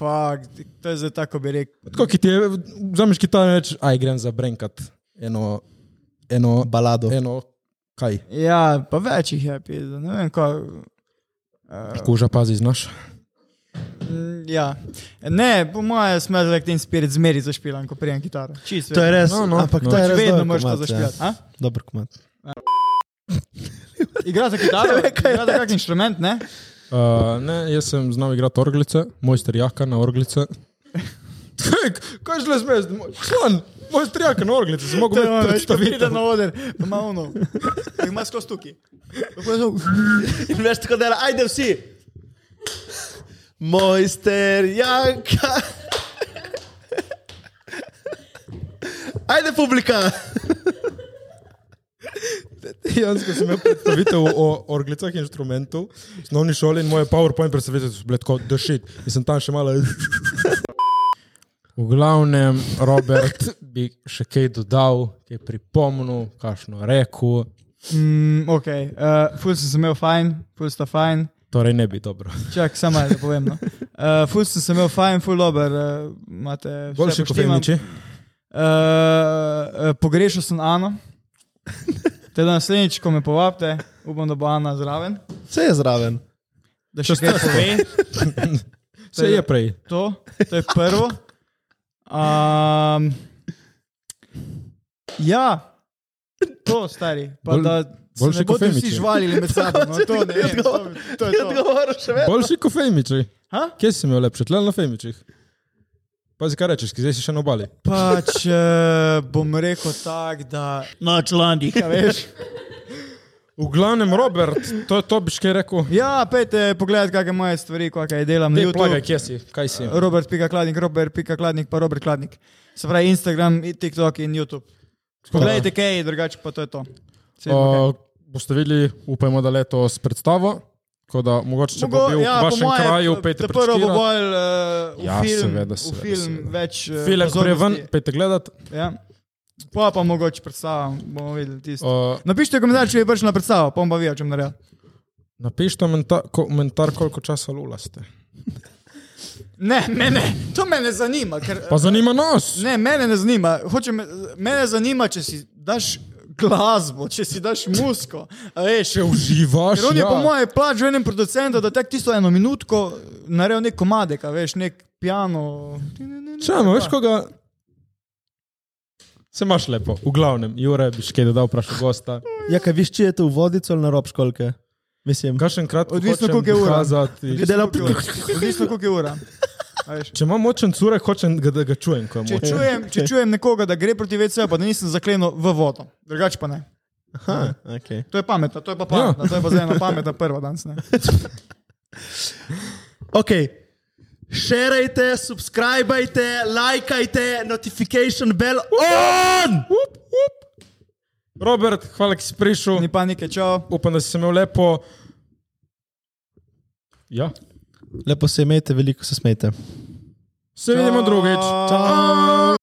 Fuck, to je zdaj tako bi rekel.
Tako ki ti je, vzameš kitaro in rečeš, aj grem za brenkat. Eno, eno,
balado.
eno, kaj?
Ja, pa več jih je, pizda, ne vem, ko.
Kuža pazi, znaš?
Mm, Ja. Ne, po mojem smer like ten spirit zmeri zašpilam, ko prijem kitaro. Čisto.
To je res,
No, no.
ampak to
No.
je res.
Vedno
dober
moraš to
komad, ja.
zašpilati. a?
Dober komat.
Igra za kitaro, igra za kak inštrument, ne?
Uh, ne, jaz sem znal igrati orglice, mojster Jaka na orglice. Kaj, kaj šle smeš? Član, mojster Jaka na orglice, sem mogel imeti
pride
predstavitev.
na oder, pa ima ono. pa Ima skozi tuki. Pa pa to-
In veš tako dela, ajde vsi. Mojster Janka. Ajde, publika.
Jansko sem imel predstavitev o orglicah inštrumentov, v osnovni šoli in moje PowerPoint predstavitve so bile tako dešit. In sem tam še malo... V glavnem, Robert bi še kaj dodal, kaj pripomnil, kakšno rekel,
Mm, ok, uh, ful sem se imel fajn, ful sta fajn.
torej ne bi dobro.
Čak, samo malo, da povem. No. Uh, ful sem se imel fajn, ful dober, uh, imate vse
Boljši kot
poštimam.
Feniči.
Uh, pogrešal sem Ano. Teda naslednjič, ko me povabite, upam, da bo Ana zraven.
Vse je zraven.
Da še kaj pove.
Se je prej.
To, to je prvo. Um, ja, to stari. Pa
Bolj-
da se
boljše
ne
kot
bodo vsi
Femiči.
žvalili med sabo. No, to ne vem. To, to je to.
Odgovor še več.
Boljši kot Feniči.
Ha?
Kje si imel lepše? Tle na Feničih. Pazi, kaj rečeš, ki zdaj si še na obali.
Pač eh, bom rekel tako, da. Na člankih, veš.
V glavnem, Robert, to, to biš kaj rekel.
Ja, pejte pogledat, kakšne moje stvari, kakšne delam na
Ne, plagaj,
YouTubu.
kje si, kaj si.
Robert, pika kladnik, Robert, pika kladnik, pa Robert kladnik. Se pravi Instagram, i- TikTok in YouTube. Poglejte, kaj je drugače, pa to je to. Se-
Uh, boste videli, upajmo, da letos predstavo. Tako da mogoče, če
Mogo-
Mogo, bo bil ja, v
po
vašem
moje,
kraju,
ta-
pejte
ta prvo bo
prečkirat.
bolj eh, v
Ja,
film,
seveda,
v
seveda,
film
seveda.
več. eh,
Film gre ven,
pozornosti.
pejte gledat.
Ja. Pa pa mogoče predstava, bomo videli tisto.
Uh,
Napišite komentar, če je prišla na predstavo, pa bom pa videl, če bom naredil.
napišite menta- komentar, koliko časa lula ste.
Ne, ne, ne, to me ne zanima. Ker, eh,
Pa zanima nas!
ne, mene ne zanima. Hočem, mene zanima, če si daš glasbo, če si daš musko. a Veš,
Če uživaš,
Ker on je
ja.
po mojem plač v enem producentu, da tek tisto eno minutko naredi nek komadek, a veš, nek piano.
Če imaš, veš koga? Se imaš lepo, v glavnem, Jure, bi še kaj dodal, vprašal gosta.
Ja, kaj viš, če je to v vodico ali na rob školke? Mislim,
Kakšen krat,
Odvisno,
hočem
koliko je ura.
dokazati-
Odvisno, koliko je ura. Odvisno, koliko je ura. A veš.
Če imam močen curek, hočem, ga, da ga čujem, ko je
Če
močen.
čujem, če čujem nekoga, da gre proti VC-ju, pa da nisem zaklenil v vodo, drugače pa ne.
aha, okay.
To je pametno, to je pa pametno,
Ja.
to je pa zdaj ena pametna prva danes. Ne?
Ok. Šerajte, subskrbajte, lajkajte, notification bell on!
Up, up. Robert, hvala, ki si prišel.
Ni panike, čau.
Upam, da si se imel lepo. Ja.
Lepo se imejte, veliko se smejte.
Se vidimo drugič. Ciao.